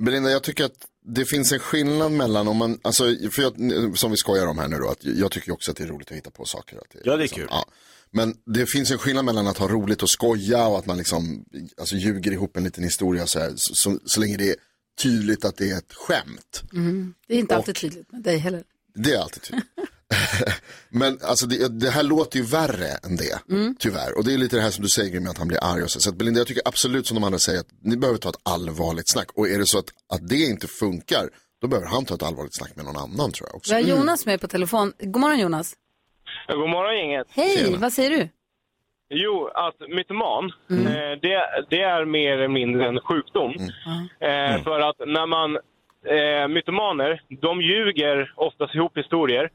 S3: Belinda, jag tycker att det finns en skillnad mellan om man, alltså, för jag, som vi skojar om här nu då, att jag tycker ju också att det är roligt att hitta på saker. Att
S5: Ja, det är kul.
S3: Ja. Men det finns en skillnad mellan att ha roligt och skoja och att man liksom, alltså, ljuger ihop en liten historia så, här, så, så, så länge det är tydligt att det är ett skämt.
S1: Mm. Det är inte alltid tydligt med dig heller.
S3: Det är alltid tydligt. Men alltså det, det här låter ju värre än det, tyvärr. Och det är lite det här som du säger Gry, med att han blir arg och så. Så att Belinda, jag tycker absolut som de andra säger att ni behöver ta ett allvarligt snack. Och är det så att, att det inte funkar, då behöver han ta ett allvarligt snack med någon annan tror jag också. Mm.
S1: Vi har Jonas med på telefon. God morgon Jonas.
S6: God morgon gänget.
S1: Hej,
S3: Tjena.
S1: vad säger du?
S6: Jo, att mytoman,
S4: Mm.
S6: eh, det, det är mer eller mindre en sjukdom.
S5: Mm.
S6: Eh, För att när man, eh, mytomaner, de ljuger oftast ihop historier.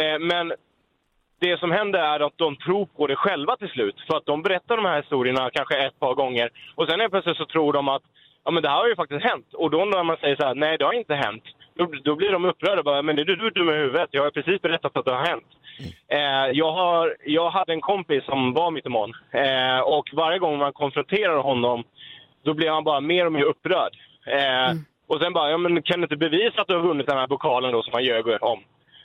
S6: Eh, men det som händer är att de tror på det själva till slut. För att de berättar de här historierna kanske ett par gånger. Och sen helt plötsligt så tror de att ja, men det här har ju faktiskt hänt. Och då när man säger så här, nej det har inte hänt. Då, då blir de upprörda och bara, men är du, du är dum i huvudet? Jag har precis berättat att det har hänt. Eh, jag, har, jag hade en kompis som var mytoman. Eh, och varje gång man konfronterar honom då blir han bara mer och mer upprörd. Eh, Och sen bara, ja, men kan du inte bevisa att du har vunnit den här pokalen då som han ljög om?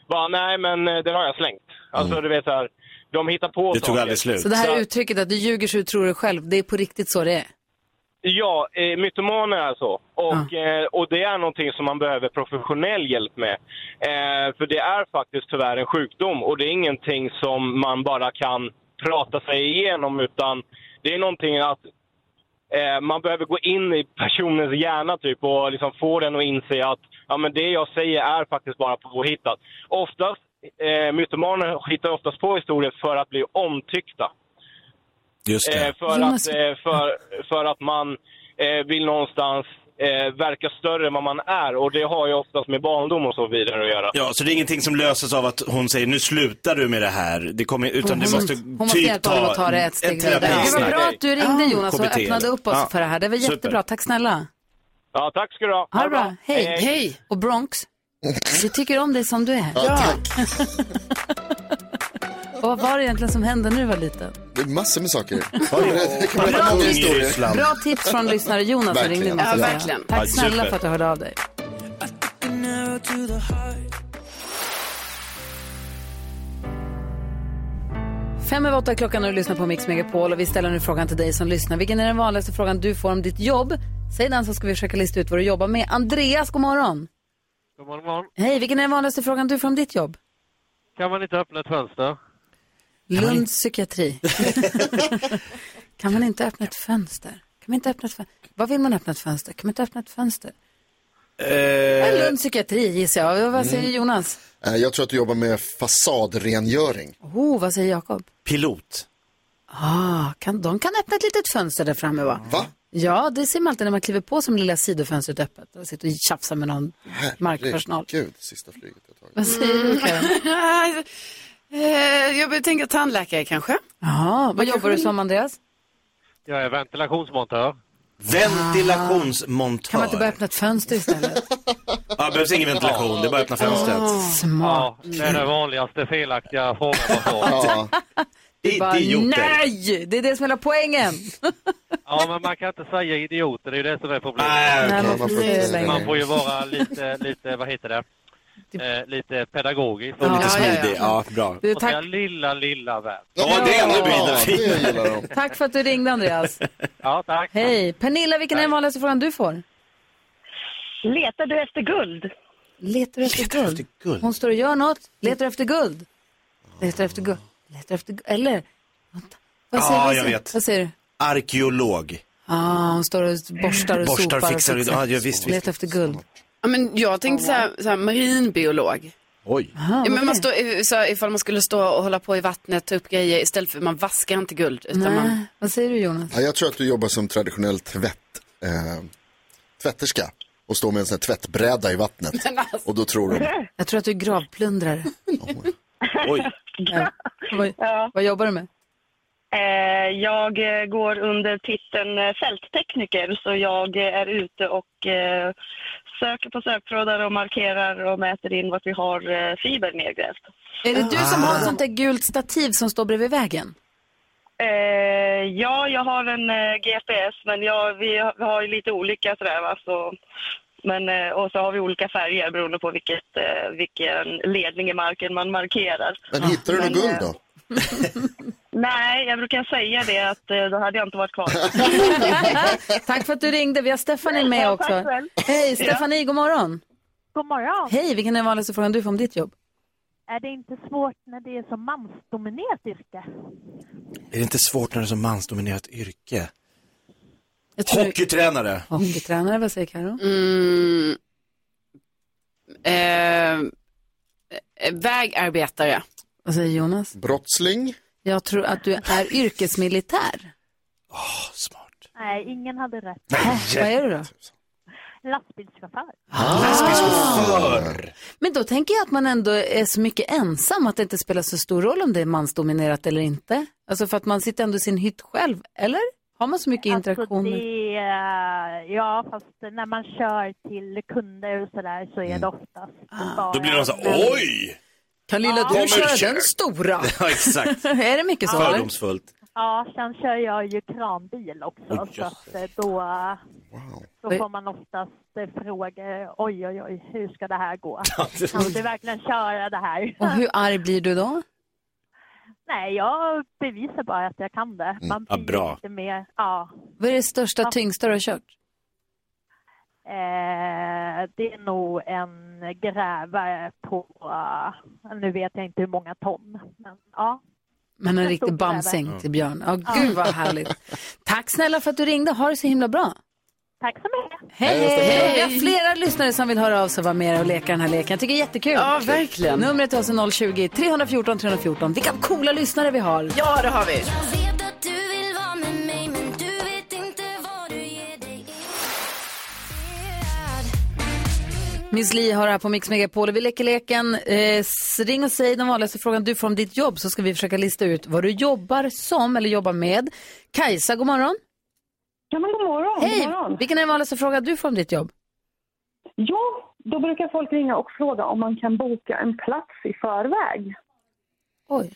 S6: Bara, nej men eh, den har jag slängt. Alltså du vet så här, de hittar på
S5: Mm. Det tog
S6: saker.
S5: aldrig slut.
S1: Så det här
S6: Så-
S1: uttrycket att du ljuger så du tror det själv, det är på riktigt så det är.
S6: Ja, eh, mytomaner är så. Och, eh, och det är någonting som man behöver professionell hjälp med. Eh, för det är faktiskt tyvärr en sjukdom och det är ingenting som man bara kan prata sig igenom utan det är någonting att eh, man behöver gå in i personens hjärna typ och liksom få den att inse att ja, men det jag säger är faktiskt bara påhittat. Oftast, eh, mytomaner hittar oftast på historier för att bli omtyckta.
S5: Just
S6: Eh,
S5: det.
S6: för,
S1: Jonas-
S6: att, eh, för, för att man eh, vill någonstans eh, verka större än vad man är. Och det har ju oftast med barndom och så vidare att göra.
S5: Ja, så det är ingenting som löses av att hon säger nu slutar du med det här. Det kommer, utan det
S1: hon,
S5: måste
S1: hon måste
S5: typ
S1: hjälpa honom att ta det ett steg vidare. Det var
S5: terapisnack.
S1: bra att du ringde Jonas och
S5: KBT.
S1: öppnade upp oss
S5: Ja.
S1: för det här. Det var
S5: Super.
S1: jättebra, tack snälla.
S6: Ja, tack ska du ha.
S1: Ha det
S6: det
S1: bra, hej.
S6: Hej,
S4: Hej!
S1: Och Bronx, vi tycker om dig som du är.
S3: Ja, tack.
S1: Och vad var det egentligen som hände när du var liten?
S3: Det är massor med saker. Det kan berätta många
S5: Ung i
S3: historier.
S5: Ryssland.
S1: Bra tips från lyssnare Jonas som
S3: Verkligen.
S1: ringde in oss
S4: Ja,
S1: idag.
S4: verkligen.
S5: Ja,
S1: Tack snälla
S5: super.
S1: för att du hörde av dig. Fem över åtta är klockan och du lyssnar på Mix Megapol och vi ställer nu frågan till dig som lyssnar. Vilken är den vanligaste frågan du får om ditt jobb? Säg den så ska vi försöka lista ut vad du jobbar med. Andreas, god morgon.
S6: God morgon.
S1: Hej, vilken är den vanligaste frågan du får om ditt jobb?
S6: Kan man inte öppna ett fönster?
S1: Lunds psykiatri. kan man inte öppna ett fönster? Kan man inte öppna ett fönster? Vad vill man öppna ett fönster? Kan man inte öppna ett fönster? Eh, Lunds psykiatri gissar jag. Vad säger Jonas?
S3: Eh, Jag tror att du jobbar med fasadrengöring.
S1: Oh, vad säger Jakob?
S5: Pilot.
S1: Ah, kan, de kan öppna ett litet fönster där framme va?
S3: Va?
S1: Ja, det ser man alltid när man kliver på som lilla sidofönstret öppet och sitter och tjafsar med någon markpersonal.
S3: Gud, sista flyget jag tagit.
S1: Vad säger
S9: Mm.
S1: du Karin?
S4: Eh, Jag börjar tänka tandläkare kanske.
S1: Ja, vad jobbar du som Andreas?
S6: Jag är Eh, ventilationsmontör.
S5: Ventilationsmontör.
S1: Kan man inte bara öppna ett fönster istället?
S5: Ja, det behövs ingen ventilation, det är bara att öppna fönstret.
S1: Smart.
S6: det är den vanligaste felaktiga frågan man får.
S3: Ja,
S5: Det,
S1: Bara,
S5: det är gjort det.
S1: nej, det är det som är hela poängen.
S6: Ja, men man kan inte säga idioter, det är ju det som är problemet.
S5: Nej, okej.
S1: Nej, man får
S3: man får
S1: inte
S3: inte
S1: slänga.
S3: slänga.
S6: Man får ju vara lite, lite vad heter det, eh, lite pedagogisk. Och
S5: Lite
S4: Ja, ja, ja.
S5: smidig. Ja, bra.
S1: Du,
S6: och säga
S1: tack,
S6: lilla, lilla värld.
S5: Ja, det är ännu
S3: Ja, det
S5: bättre.
S3: gillar de.
S1: tack för att du ringde Andreas.
S6: Ja, tack.
S1: Hej. Pernilla, vilken är den vanligaste frågan du får?
S9: Letar du efter guld?
S1: Letar du efter guld?
S5: Guld.
S1: Hon står och gör något. Letar du efter guld? Letar du efter guld? Letar du efter guld? Eller? Vänta. Vad
S5: Ja,
S1: säger, vad
S5: jag
S1: säger,
S5: vet.
S1: Vad säger du?
S5: Arkeolog.
S1: Ah, hon står och borstar och
S5: Borstar,
S1: sopar. och
S5: fixar och- ja, ja, visst, visst.
S1: Letar efter guld.
S4: Ja, men jag tänkte så här, så här marinbiolog.
S5: Oj.
S1: Ah,
S4: Ja, men man
S1: vad
S4: står, eh, så här, ifall man skulle stå och hålla på i vattnet, ta upp grejer istället för man vaskar inte guld. Utan
S1: Nej.
S4: man,
S1: Vad säger du Jonas?
S3: Ja, jag tror att du jobbar som traditionell tvätt, eh, tvätterska och står med en sån här tvättbräda i vattnet. Och då tror de,
S1: Jag tror att du är gravplundrare.
S5: Oj.
S1: Ja. Vad,
S9: Ja.
S1: vad jobbar du med?
S9: Eh, Jag eh, går under titeln eh, fälttekniker, så jag eh, är ute och eh, söker på söktrådar och markerar och mäter in vart vi har eh, fiber nedgrävt.
S1: Är det du som
S9: Ah.
S1: har ett sånt där gult stativ som står bredvid vägen?
S9: Eh, Ja, jag har en eh, GPS, men jag, vi har- vi har ju lite olika sådär va. Så, men, eh, och så har vi olika färger beroende på vilket, eh, vilken ledning i marken man markerar.
S3: Men hittar du något
S9: Men,
S3: guld
S9: eh,
S3: då?
S9: Nej, jag brukar säga det att eh, då hade jag inte varit kvar.
S1: Tack för att du ringde. Vi har Stephanie med
S9: Ja, tack
S1: också.
S9: själv.
S1: Hej, Stephanie, god morgon.
S10: God morgon.
S1: Hej, vilken är den vanligaste frågan du får om ditt jobb?
S10: Är det inte svårt när det är så mansdominerat yrke?
S5: Är det inte svårt när det är så mansdominerat yrke?
S1: Jag tror-
S5: Hockeytränare.
S1: Hockeytränare, vad säger Karo?
S4: Mm. Eh, eh, vägarbetare.
S1: Vad säger Jonas?
S3: Brottsling?
S1: Jag tror att du är yrkesmilitär.
S5: Åh, smart.
S10: Nej, ingen hade rätt.
S1: Vad är du då?
S10: Lastbilschaufför.
S5: Ah. Lastbilschaufför.
S1: Men då tänker jag att man ändå är så mycket ensam att det inte spelar så stor roll om det är mansdominerat eller inte. Alltså för att man sitter ändå i sin hytt själv, eller? Har man så mycket
S10: Alltså
S1: interaktioner?
S10: det, är- ja, fast när man kör till kunder och sådär så är det oftast bara...
S5: Mm. Då blir de så här,
S10: Men-
S5: oj!
S1: Kan lilla
S5: Kommer
S1: Ah. du köra
S5: kör.
S1: den stora?
S5: Ja, exakt.
S1: är det mycket så? eller?
S5: Fördomsfullt.
S10: Ja, sen kör jag ju kranbil också
S5: Oj,
S10: så att eh, då,
S3: Wow.
S10: då får man oftast eh, frågor, oj oj oj, hur ska det här gå? Kan du verkligen köra det här?
S1: Och hur arg blir du då?
S10: Nej, jag bevisar bara att jag kan det. Man
S5: Mm. ja,
S10: blir
S5: bra.
S10: lite mer, ja.
S1: Vad är det största, tyngsta du har kört?
S10: Eh, det är nog en grävare på, eh, nu vet jag inte hur många ton, men ja.
S1: Men en
S10: Jag
S1: riktig
S10: tror på det,
S1: bamsäng till Björn. Ja, gud vad härligt. Tack snälla för att du ringde. Ha det så himla bra.
S10: Tack så mycket.
S1: Hej! Vi har flera lyssnare som vill höra av sig och vara med och leka den här leken. Jag tycker det är jättekul.
S4: Ja, verkligen.
S1: Numret är alltså 020-314 314. Vilka coola lyssnare vi har.
S4: Ja, det har vi.
S1: Miss Li har här på Mix Megapol och vi leker leken. Eh, s- ring och säg den vanligaste frågan du får om ditt jobb så ska vi försöka lista ut vad du jobbar som eller jobbar med. Kajsa, god morgon.
S9: Ja, men god morgon.
S1: Hej! Vilken är den vanligaste frågan du får om ditt jobb?
S9: Ja, då brukar folk ringa och fråga om man kan boka en plats i förväg.
S1: Oj.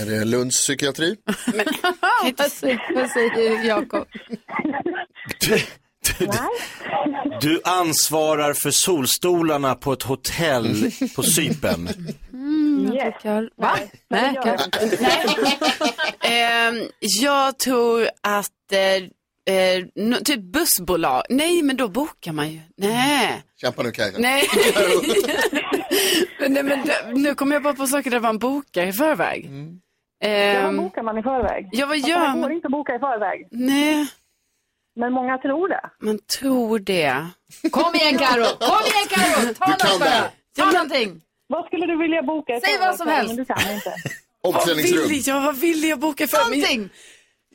S3: Är det Lunds psykiatri?
S1: vad säger, vad säger Jakob?
S5: Du, du, du ansvarar för solstolarna på ett hotell på Cypern.
S9: Yes.
S1: Kör. Va? Nej,
S9: gör
S1: Karo.
S4: Ehm, jag tror att eh, eh, nå- typ bussbolag. Nej, men då bokar man ju. Nej,
S3: Kämpa nu Kaj.
S4: nej. nej men det, nu kommer jag bara på saker där man bokar i förväg.
S9: Ja,
S4: Ehm,
S9: vad bokar man i förväg?
S4: ja, vad
S9: Alltså,
S4: gör
S9: man går
S4: man?
S9: inte att boka i förväg,
S4: Nej,
S9: men många tror det.
S4: man tror det.
S1: Kom igen Karo! Kom igen Karo! Ta
S3: Du kan
S1: något
S3: det
S1: bara!
S3: här.
S1: Ta någonting!
S9: Vad skulle du vilja boka i
S1: Säg
S9: förväg?
S1: vad som
S9: Men
S1: helst.
S9: Du kan inte.
S4: Vad
S3: Omklädningsrum.
S4: vill jag? Vad vill jag boka i förväg? Men jag-
S1: Någonting!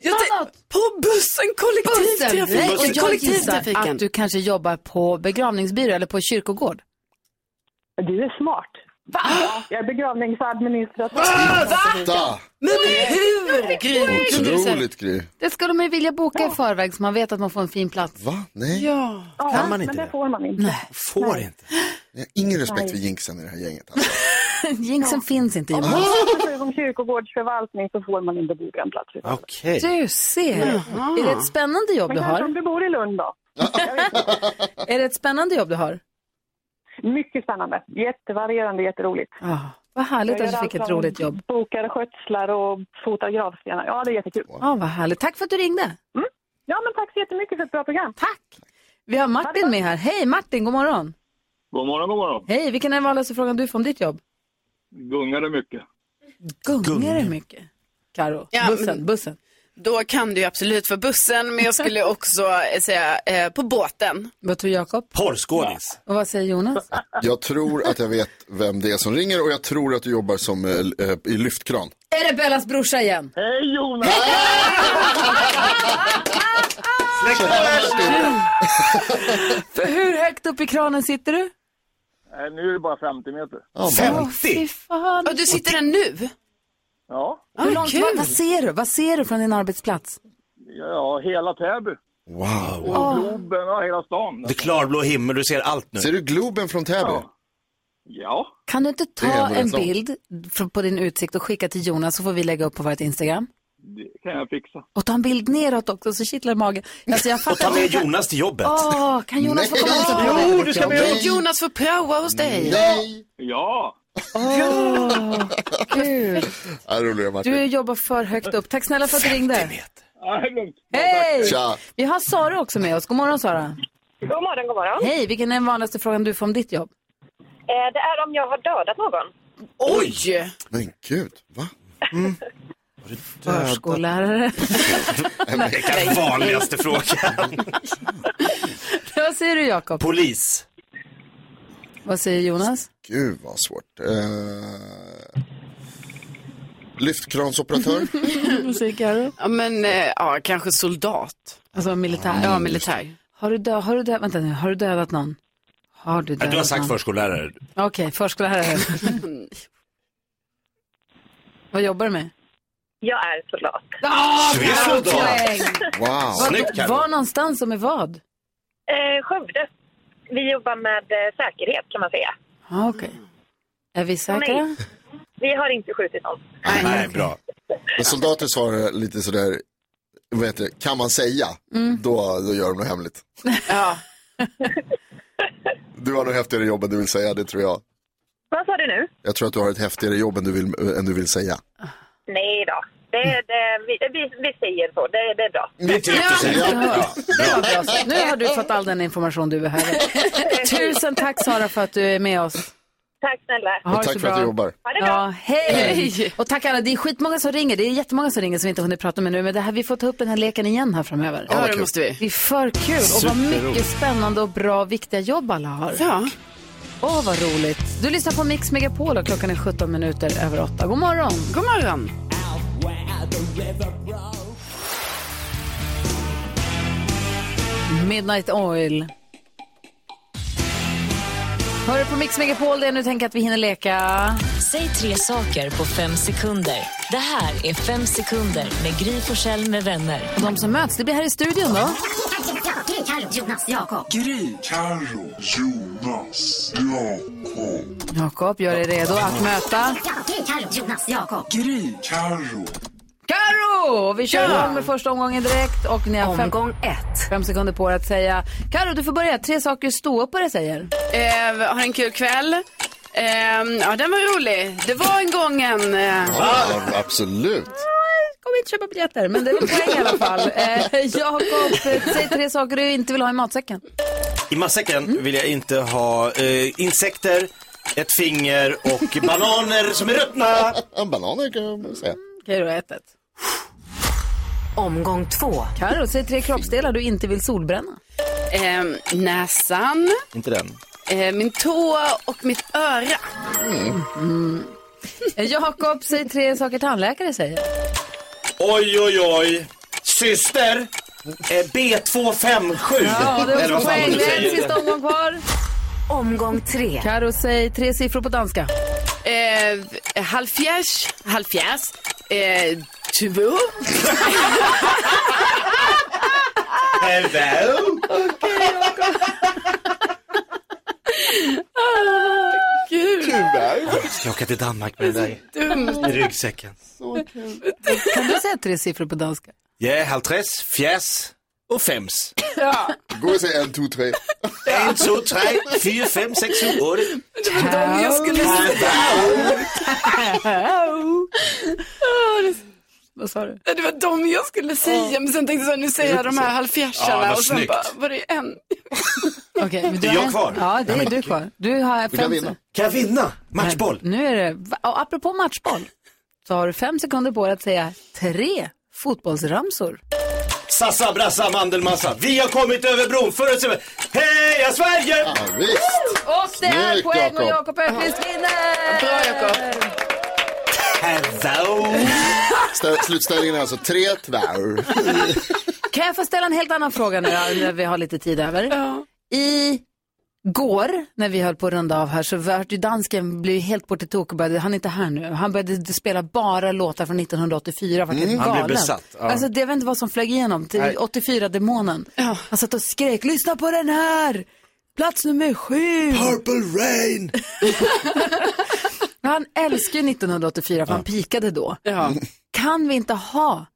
S4: Jag
S1: Ta
S4: tänk- på bussen,
S1: Bussen! Nej, och
S4: kollektivtrafiken.
S1: jag gissar
S4: Kollektivtrafiken.
S1: att du kanske jobbar på begravningsbyrå eller på kyrkogård.
S9: Du är smart. Ja, jag är begravningsadministratör.
S3: Da.
S4: Men hur? Gry?
S3: Otroligt Gry.
S1: Det skulle man ju vilja boka i förväg så man vet att man får en fin plats.
S3: Va? Nej,
S4: Ja.
S5: Kan man inte
S9: men det
S5: det?
S9: får man inte.
S5: Får inte.
S3: jag har ingen respekt för jinxen i det här gänget. Alltså.
S1: Jinxen finns inte Jonas.
S9: Precis Som kyrkogårdsförvaltning så får man inte boka en plats. i förväg.
S5: Okej.
S1: Du ser. Är det ett spännande jobb
S9: Men
S1: du
S9: kanske om
S1: har?
S9: du bor i Lund då?
S1: Är det ett spännande jobb du har?
S9: Mycket spännande. Jättevarierande, jätteroligt.
S1: Ja, vad härligt
S9: Jag
S1: att du
S9: gör
S1: fick
S9: allt
S1: ett
S9: från
S1: roligt jobb.
S9: Bokar skötslar och fotar gravstenar. Ja, det är jättekul.
S1: Ja, vad härligt. Tack för att du ringde.
S9: Mm. Ja, men tack så jättemycket för ett bra program.
S1: Tack. Vi har Martin med här. Hej Martin, god morgon.
S11: God morgon, god morgon.
S1: Hej, vilken är den vanligaste frågan du får om ditt jobb?
S11: Gungar det mycket?
S1: Gungar det mycket? Karo,
S4: Ja, men-
S1: bussen, bussen.
S4: Då kan du ju absolut för bussen, men jag skulle också eh, säga eh, på båten.
S1: Vad tror Jakob?
S5: Porrskådis.
S1: Och vad säger Jonas?
S3: Jag tror att jag vet vem det är som ringer och jag tror att du jobbar som eh, l- eh, i lyftkran.
S1: Är det Bellas brorsa igen?
S11: Hej Jonas!
S1: För hur högt upp i kranen sitter du?
S11: Nej, nu är det bara 50 meter.
S1: Fy fan.
S4: Och du sitter där nu?
S11: Ja,
S7: Ah,
S1: Hur långt, vad, vad ser du? Vad ser du från din arbetsplats?
S11: ja hela Täby.
S5: Wow.
S11: Och Globen och hela stan.
S5: Det är klarblå himmel, du ser allt nu. Ser
S3: du Globen från Täby?
S11: Ja.
S1: Kan du inte
S5: Det är
S1: ta
S5: ändå
S1: en
S5: rätt långt.
S1: bild från- på din utsikt och skicka till Jonas så får vi lägga upp på vårt Instagram?
S11: Det kan jag fixa.
S1: Och ta en bild neråt också så kittlar magen. Alltså, jag fattar
S5: Och ta
S1: inte-
S5: med Jonas Oh, till jobbet.
S1: Åh, kan Jonas få komma hit och prova
S4: Jo,
S1: lite
S4: du ska
S1: jobb?
S4: med Jonas får prova hos dig.
S3: Nej.
S11: Ja.
S1: Åh, gud.
S3: Ja, det är roligare Martin.
S1: Du jobbar för högt upp. Tack snälla för att du ringde.
S11: Ja, det är lugnt.
S1: Hej!
S3: Tja.
S1: Vi har Sara också med oss. God morgon Sara.
S12: God morgon, god morgon.
S1: Hej, vilken är den vanligaste frågan du får om ditt jobb?
S12: Eh, det är om jag har dödat någon.
S4: Oj!
S3: Men gud, va?
S1: Förskollärare.
S5: Det är den vanligaste frågan.
S1: Vad säger du Jakob?
S5: Polis.
S1: Vad säger Jonas?
S3: Gud vad svårt. Eh... Lyftkransoperatör?
S1: Vad säger Karo?
S4: Ja, men eh, ja, kanske soldat.
S1: Alltså militär.
S4: Ja, militär.
S1: Har du, dö- har du, dö- vänta nu. har du dödat någon? Har du
S5: Ja,
S1: dödat
S5: Du har sagt
S1: någon?
S5: förskollärare.
S1: Okej, förskollärare. Vad jobbar du med?
S12: Jag är soldat.
S1: Ah,
S5: Du är
S1: bra
S5: soldat.
S1: poäng.
S3: Wow.
S1: Vad-
S5: Snyggt, Karo.
S1: Var någonstans och med vad?
S12: Eh, Skövde. Vi jobbar med eh, säkerhet kan man säga.
S1: Ah, Okej. Är vi säkra?
S12: Nej. Vi har inte skjutit någon.
S5: Nej, bra.
S3: När soldater svarar lite sådär, vad heter det, kan man säga,
S4: Mm.
S3: då, då gör de något hemligt.
S4: Ja.
S3: Du har nog häftigare jobb än du vill säga, det tror jag.
S12: Vad sa du nu?
S3: Jag tror att du har ett häftigare jobb än du vill, eh, än du vill säga.
S12: Nej då. Det, det, vi, vi, vi säger så. Det, det är bra.
S5: Det är tryggt att säga.
S1: Ja, det var bra. sagt. Nu har du fått all den information du behöver. Tusen tack Sara för att du är med oss.
S12: Tack snälla.
S1: Ha
S3: Och
S1: det
S3: tack
S1: så
S3: för
S1: bra.
S3: att du jobbar.
S12: Ha det bra.
S1: Ja, hej! Och tack alla, det är skitmånga som ringer. Det är jättemånga som ringer som vi inte hunnit prata med nu. Men det här, vi får ta upp den här leken igen här framöver.
S4: Ja,
S3: vad
S4: det
S3: kul.
S4: måste vi.
S1: Det är för kul och vad mycket spännande och bra viktiga jobb alla har.
S4: Ja.
S1: Åh, vad roligt. Du lyssnar på Mix Megapol och klockan är 17 minuter över 8. God morgon!
S4: God morgon.
S1: Midnight Oil. Hör du på Mix Megapol det är nu tänker jag att vi hinner leka.
S13: Säg tre saker på fem sekunder. Det här är Fem sekunder med Gry Forssell med vänner.
S1: Och de som möts, det blir här i studion då.
S13: Jonas, Jakob.
S14: Gry, Carro, Jonas, Jakob.
S1: Jakob, gör dig redo att möta
S13: Jonas, Jakob.
S14: Gry, Carro.
S1: Karo! Och Vi kör
S4: Ja.
S1: igång med första omgången direkt. Och ni har fem,
S4: Omgång
S1: ett. fem sekunder på er att säga. Karo, du får börja. Tre saker ståuppare säger.
S4: Eh, ha en kul kväll. Eh, ja, den var rolig. Det var en gång en... Eh,
S3: Ja, absolut.
S1: Kom inte köpa biljetter, men det är väl poäng i alla fall. Eh, Jakob, eh, säg tre saker du inte vill ha i matsäcken.
S5: I matsäcken vill jag inte ha eh, insekter, ett finger och bananer som är ruttna.
S3: En banan kan man säga.
S1: Okej, då ett, ett. Omgång två. Karo, säg tre kroppsdelar du inte vill solbränna.
S4: eh, näsan,
S5: Inte den.
S4: eh, min tå och mitt öra.
S3: Mm.
S1: Eh, Jakob, säg tre saker tandläkare säger.
S5: Oj, oj, oj. Syster. Eh, B257.
S1: Ja, det är
S5: Eller vad
S1: också
S5: fan
S1: poäng.
S5: du
S1: Det är en
S5: säger.
S1: sista omgång kvar. Omgång tre. Karo, säg tre siffror på danska.
S4: Eh, halvfjärs, halvfjärs, eh, två.
S5: Hello.
S4: Gud,
S3: Tyvärr.
S5: Jag ska åka till Danmark med den
S4: dumt.
S5: där i ryggsäcken.
S1: Kan du säga tre siffror på danska?
S5: Ja, halvtress, fjäs och fems.
S3: Gå och säg en, två, tre.
S5: En, två, tre, fyra, fem, sex, sju, åtta.
S4: Jag skulle
S1: Vad sa du?
S4: Ja, Det var de jag skulle säga, men sen tänkte jag så här, nu säger jag de här halvfjärsarna
S5: Ja, vad
S4: och sen
S5: snyggt.
S4: bara, var det en?
S1: Okej, men du
S5: Är
S1: har
S5: jag
S1: en-
S5: kvar?
S1: Ja, det är du kvar. Du har
S3: Du kan
S1: fem
S3: vinna.
S5: Kan jag vinna matchboll?
S1: Nu är det, va- och apropå matchboll, så har du fem sekunder på dig att säga tre fotbollsramsor.
S5: Sassa, brassa, mandelmassa. Vi har kommit över bron för att se... Heja Sverige!
S3: Ja, visst.
S1: Och det är
S3: Snyggt,
S1: poäng och
S3: Jakob.
S1: Jakob Öqvist vinner!
S4: Bra, Jakob.
S5: Hello!
S3: Stä- Slutställningen är alltså tre, tvär.
S1: Kan jag få ställa en helt annan fråga nu när vi har lite tid över? I går, när vi höll på att runda av här, så vart ju dansken blev ju helt bort i tok och började, han är inte här nu, han började spela bara låtar från 1984, vart helt
S5: Mm.
S1: galen.
S5: Han blev besatt, ja.
S1: Alltså det var inte vad som flög igenom, till
S5: Nej.
S1: 84-demonen. Han satt och skrek, lyssna på den här! Plats nummer sju!
S5: Purple Rain!
S1: han älskar ju 1984, för han pikade då.
S4: Ja.
S1: Kan vi inte ha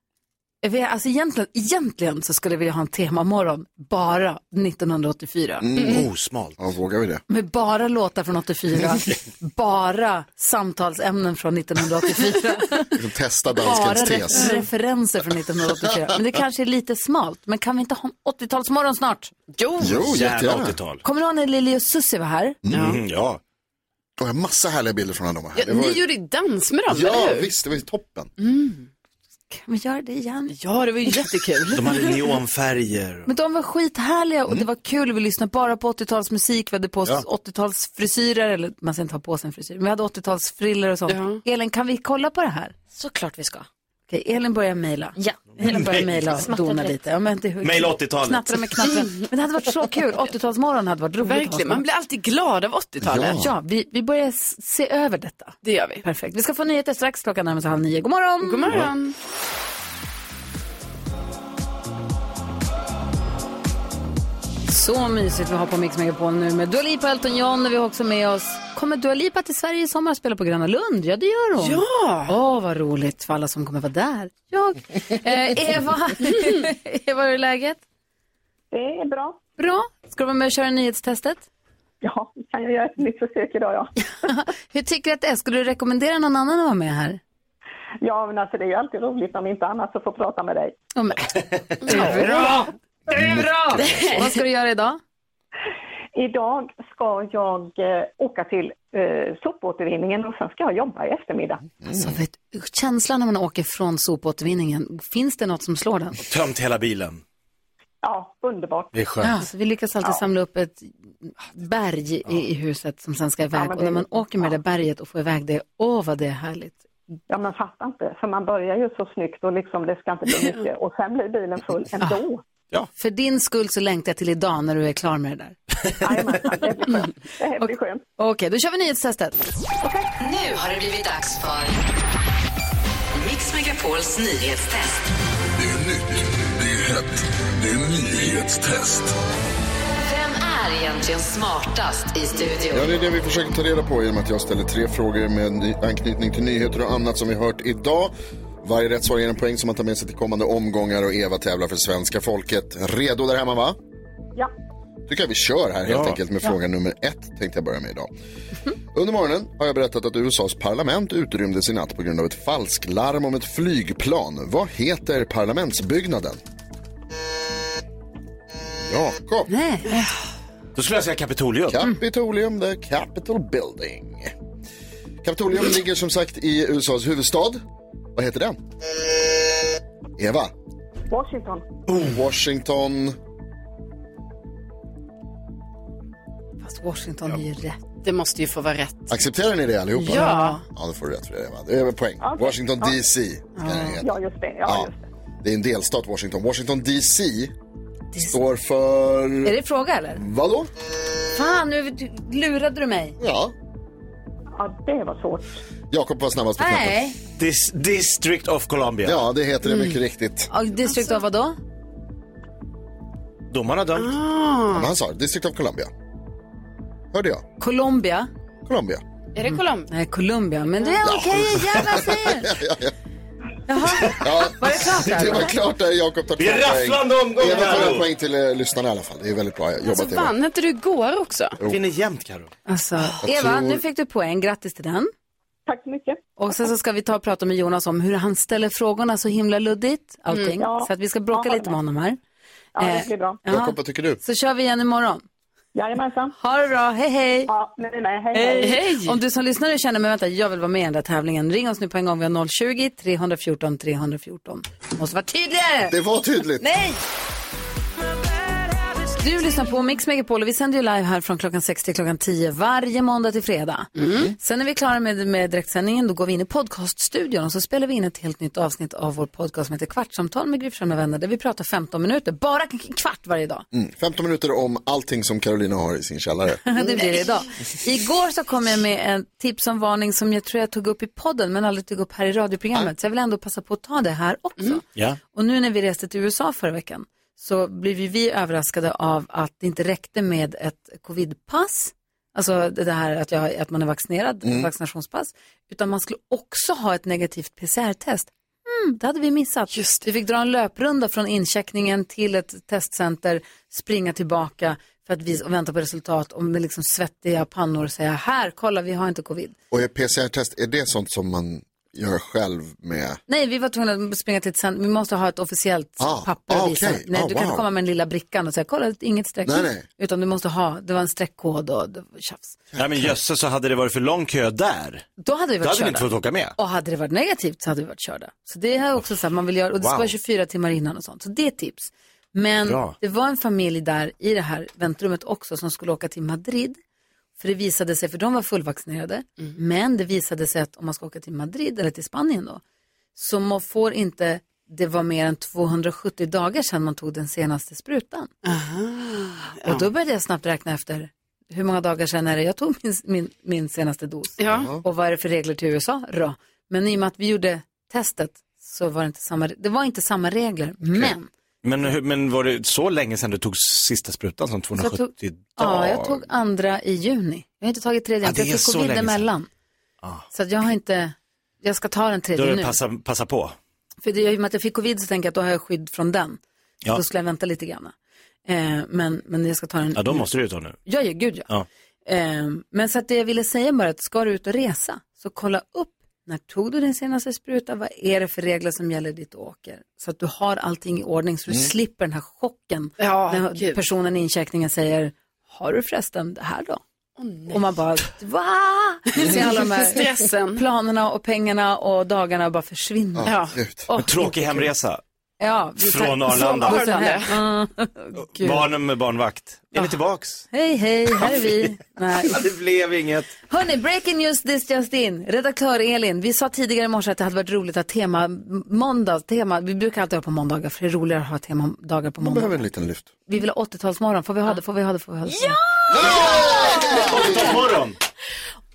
S1: jag vet, alltså egentligen, egentligen så skulle vi ha en temamorgon bara 1984.
S3: Mm.
S5: Oh, smalt.
S3: Ja, vågar vi det?
S1: Med bara låtar från 84,
S3: Mm.
S1: bara samtalsämnen från 1984,
S3: Liksom testa
S1: bara
S3: danskens tes.
S1: re- referenser från 1984. Men det kanske är lite smalt, men kan vi inte ha en 80-talsmorgon snart?
S4: Jo,
S3: Jo, jättegärna.
S5: Jävla 80-tal.
S1: Kommer du ihåg när Lili och Susie var här?
S5: Mm, ja.
S3: Och jag har massa härliga bilder från när de var här.
S4: Ja,
S3: Det var...
S4: Ni gjorde ju dans med dem,
S3: ja
S4: eller hur?
S3: visst, det var ju toppen.
S1: Kan vi göra det igen?
S4: Ja, det var ju jättekul.
S5: De hade neonfärger.
S1: Men de var skithärliga och det var kul. Vi lyssnade bara på 80-talsmusik. Vi hade på oss
S5: Mm. Ja.
S1: 80-talsfrisyrer, eller man ska inte ha på sig en frisyr. Men vi hade 80-talsfrillor och sånt. Elin, kan vi kolla på det här?
S2: Såklart vi ska.
S1: Okej, Elin börjar mejla.
S2: Ja.
S1: Elin börjar mejla och
S2: Smattra
S1: dona
S2: direkt.
S1: lite. Ja, men det,
S5: Mejla 80-talet.
S1: Knattra med knappen. Men det hade varit så kul. 80-talsmorgon hade varit roligt. att ha
S4: Verkligen,
S1: så.
S4: man blir alltid glad av 80-talet.
S1: Ja, vi, vi börjar s- se över detta.
S4: Det gör vi.
S1: Perfekt. Vi ska få nyheter strax. Klockan närmar sig halv nio. God morgon!
S4: God morgon.
S1: Så mysigt vi har på Mix Megapol nu med Dua Lipa, Elton John och vi har också med oss. Kommer Dua Lipa till Sverige i sommar och spela på Gröna Lund? Ja, det gör hon.
S4: Ja!
S1: Åh, vad roligt för alla som kommer vara där. Jag. Eh, Eva, Eva, hur är läget?
S12: Det är bra.
S1: Bra. Ska du vara med och köra nyhetstestet?
S12: Ja, kan jag göra ett nytt försök idag, ja.
S1: Hur tycker du att det är? Skulle du rekommendera någon annan att vara med här?
S12: Ja, men alltså det är ju alltid roligt om inte annat så får prata med dig.
S1: Ja, men- Det är bra!
S12: Det är bra!
S1: Vad ska du göra idag?
S12: Idag ska jag eh, åka till eh, sopåtervinningen och sen ska jag jobba i eftermiddag.
S1: Alltså, vet, du, känslan när man åker från sopåtervinningen, finns det något som slår den?
S5: Tömt hela bilen.
S12: Ja, underbart.
S5: Det är skönt.
S1: Ja, så vi lyckas alltid samla upp ett berg i, i huset som sen ska iväg.
S12: men
S1: och när
S12: det-
S1: man åker med det berget och får iväg det, åh vad det är härligt.
S12: Ja, men fatta inte, för man börjar ju så snyggt och liksom det ska inte bli mycket och sen blir bilen full ändå.
S1: För din skull så längtar jag till idag när du är klar med det där. Mm.
S12: Jajamensan, det blir skönt. Det blir skönt.
S1: Okej, då kör vi nyhetstestet.
S7: Nu har det blivit dags för Mix Megapols nyhetstest.
S14: Det är nytt, det är hett, det är nyhetstest.
S7: Vem är egentligen smartast i studion?
S3: Ja, det är det vi försöker ta reda på genom att jag ställer tre frågor med ny- anknytning till nyheter och annat som vi hört idag. Varje rätt svar ger en poäng som man tar med sig till kommande omgångar och Eva tävlar för svenska folket. Redo där hemma va?
S12: Ja.
S3: tycker jag vi kör här helt
S5: Ja.
S3: enkelt med fråga nummer ett tänkte jag börja med idag. Under morgonen har jag berättat att USAs parlament utrymdes i natt på grund av ett falsklarm om ett flygplan. Vad heter parlamentsbyggnaden? Jakob.
S1: Nej.
S5: Då skulle jag säga Kapitolium.
S3: Mm. Kapitolium, the Capitol Building. Kapitolium ligger som sagt i USAs huvudstad. Vad heter den? Eva.
S12: Washington.
S5: Oh.
S3: Washington.
S1: Fast Washington är ju rätt.
S4: Det måste ju få vara rätt.
S3: Accepterar ni det allihopa?
S4: Ja.
S3: Ja, då får du rätt för det Eva. Det är väl poäng. Washington DC. ska den heta.
S12: Ja, just det. Ja, just det.
S3: Det är en delstat Washington. Washington DC står för...
S1: Är det fråga eller?
S3: Vadå?
S1: Fan, nu du- lurade du mig.
S3: Ja.
S12: Ja, det var svårt.
S3: Jakob var snabbast på knappen.
S1: Nej.
S5: Dis District of Columbia.
S3: Ja, det heter det mycket riktigt.
S1: Ja,
S12: Alltså-
S1: District av vadå?
S5: Mm. Domarna dömt.
S3: Ah. Ja, men han sa District of Columbia. Hörde jag?
S1: Colombia? Mm.
S3: Columbia.
S4: Är det Colombia?
S1: Nej, Colombia. Men det är okej igen, vad jag säger.
S3: Ja,
S1: Var det klart där?
S3: det var klart där. Jakob tar två
S5: Det är rafflande omgångar.
S3: Eva tar en poäng till eh, lyssnarna i alla fall. Det är väldigt bra jobbat
S4: Alltså,
S3: Eva.
S4: vann inte du igår också?
S5: Vinner jämnt, Karo.
S1: Alltså, Eva,
S3: tror-
S1: nu fick du poäng. Grattis till den.
S12: Tack så mycket.
S1: Och sen så ska vi ta och prata med Jonas om hur han ställer frågorna så himla luddigt. Allting.
S12: Mm. Ja.
S1: Så att vi ska bråka
S12: Ja,
S1: lite med honom här.
S12: Ja,
S1: Eh,
S12: det blir bra.
S1: Ja.
S3: Jakob, vad tycker du?
S1: Så kör vi igen imorgon.
S12: Jajamensan.
S1: Ha det bra, hej hej!
S12: Ja, nu är ni med. Hej, hej.
S1: Om du som lyssnare känner men vänta, jag vill vara med i den där tävlingen. Ring oss nu på en gång, vi har 020-314 314. Måste vara tydligare!
S3: Det var tydligt.
S1: Nej!
S7: Bad habits
S1: Du lyssnar på Mix Megapol och vi sänder ju live här från klockan 6 till klockan 10 varje måndag till fredag.
S7: Mm.
S3: Mm.
S1: Sen när vi är klara med, med direktsändningen då går vi in i podcaststudion och så spelar vi in ett helt nytt avsnitt av vår podcast som heter Kvartsamtal med Gry Forssell med vänner där vi pratar 15 minuter, bara en kvart varje dag.
S3: Mm. 15 minuter om allting som Carolina har i sin källare.
S1: det blir det idag. Igår så kom jag med en tips om varning som jag tror jag tog upp i podden men aldrig tog upp här i radioprogrammet. Så jag vill ändå passa på att ta det här också.
S5: Ja.
S1: Och nu när vi reste till USA förra veckan så blev ju vi överraskade av att det inte räckte med ett covidpass, alltså det här att, jag, att man är vaccinerad,
S15: Mm.
S1: vaccinationspass, utan man skulle också ha ett negativt PCR-test. Mm, det hade vi missat. Vi fick dra en löprunda från incheckningen till ett testcenter, springa tillbaka för att vi, och vänta på resultat och med liksom svettiga pannor och säga här, kolla vi har inte covid.
S3: Och är PCR-test, är det sånt som man gör själv med?
S1: Nej, vi var tvungna att springa till ett cent. Vi måste ha ett officiellt
S3: Ah,
S1: papper
S3: ah,
S1: och visa.
S3: okej.
S1: Nej,
S3: Ah,
S1: du kan inte
S3: wow.
S1: komma med den lilla brickan och säga kolla, det är inget streck.
S5: Nej, nej.
S1: Utan du måste ha, det var en streckkod och det var tjafs.
S5: Nej men jösses så hade det varit för lång kö där.
S1: Då hade vi
S5: Då
S1: varit
S5: hade
S1: körda.
S5: ni inte fått åka med.
S1: Och hade det varit negativt så hade vi varit körda. Så det är också så här, man vill göra, och det ska
S5: Wow.
S1: vara 24 timmar innan och sånt. Så det är tips. Men
S5: Bra.
S1: det var en familj där i det här väntrummet också som skulle åka till Madrid. För det visade sig, för de var fullvaccinerade,
S5: Mm.
S1: men det visade sig att om man ska åka till Madrid eller till Spanien då, så man får inte det var mer än 270 dagar sedan man tog den senaste sprutan. Och då började jag snabbt räkna efter hur många dagar sedan är det jag tog min, min, min senaste dos.
S4: Ja.
S1: Och vad är det för regler till USA då? Men i och med att vi gjorde testet så var det inte samma, det var inte samma regler. Men
S5: Men, hur- men var det så länge sedan du tog sista sprutan som
S1: Så jag
S5: 270
S1: tog-
S5: dagar?
S1: ja, jag tog andra i juni. Jag har inte tagit tredje,
S5: Ja,
S1: för
S5: det
S1: jag
S5: är
S1: fick
S5: så
S1: covid
S5: länge sedan.
S1: emellan. Så att jag har inte, jag ska ta den
S5: Då
S1: tredje
S5: är
S1: nu.
S5: det passa, passa på.
S1: För det, i och med att jag fick covid så tänker jag att då har jag skydd från den.
S5: Ja.
S1: Då skulle jag vänta lite grann. Eh, men, men jag ska ta den
S5: Ja, då
S1: nu.
S5: måste du ju ta nu.
S1: Ja, ja, gud ja.
S5: Ja.
S1: Ehm, men så att det jag ville säga bara att ska du ut och resa så kolla upp när tog du din senaste spruta, vad är det för regler som gäller dit du åker? Så att du har allting i ordning så du
S4: Mm.
S1: slipper den här chocken
S4: Ja,
S1: när
S4: gud.
S1: personen i incheckningen säger har du förresten det här då? och man bara va? Nu ser alla de här
S4: Stressen.
S1: planerna och pengarna och dagarna bara försvinna.
S5: Ja. En tråkig hemresa.
S1: Ja, vi tar-
S5: Från Arlanda.
S1: Från Arlanda. Gud.
S5: Barnen med barnvakt. Är ni tillbaks?
S1: Hej, hej, här är vi. Nej.
S5: Ja, det blev inget.
S1: Hörni, breaking news this just in. Redaktör Elin, vi sa tidigare i morse att det hade varit roligt att tema m- måndag, tema, vi brukar alltid ha på måndagar för det är roligare att ha temadagar på
S3: Man
S1: måndag.
S3: behöver en liten lyft.
S1: Vi vill ha 80-talsmorgon, får vi ha det, får vi ha det, får vi ha det. Ja!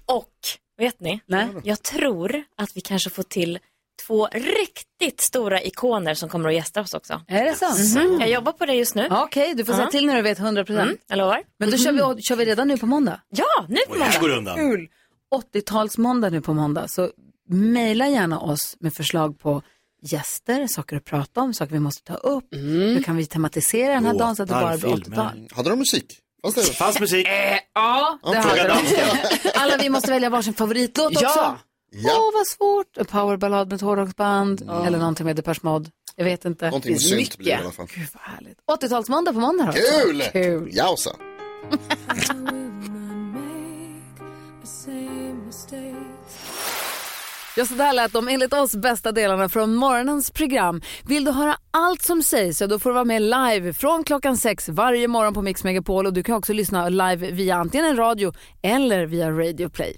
S2: Och, vet ni?
S1: Nej.
S2: Jag tror att vi kanske får till två riktigt stora ikoner som kommer att gästa oss också.
S1: Är det sant?
S2: Mm-hmm. Jag jobbar på det just nu.
S1: Okej, du får säga till när du vet 100 procent.
S2: Mm, jag lovar. Mm-hmm.
S1: Men då kör vi, kör vi redan nu på måndag.
S2: Ja, nu på
S1: Oj, här
S2: måndag.
S1: går det undan. Kul. 80-talsmåndag nu på måndag. Så mejla gärna oss med förslag på gäster, saker att prata om, saker vi måste ta upp. Hur kan vi tematisera den här dagen så att det bara blir 80-tal?
S3: Hade de musik? Fanns det?
S5: Fanns musik.
S4: Eh,
S1: Ja, det
S3: Ja,
S1: hade
S3: fråga
S1: de. Alla vi måste välja varsin favoritlåt
S4: Ja.
S1: också.
S3: Ja.
S1: Åh, vad svårt. En powerballad med ett hårdrocksband eller någonting med Depeche Mode. Jag vet inte.
S3: Någonting med
S1: Finns
S3: synt blir det i alla
S1: mycket.
S3: fall.
S1: 80-talsmåndag på måndag då.
S3: Kul!
S1: Kul!
S3: Jausa.
S1: Ja, så där lät de enligt oss bästa delarna från morgonens program. Vill du höra allt som sägs, ja, då får du vara med live från klockan sex varje morgon på Mix Megapol. Och du kan också lyssna live via antingen en radio eller via Radio Play.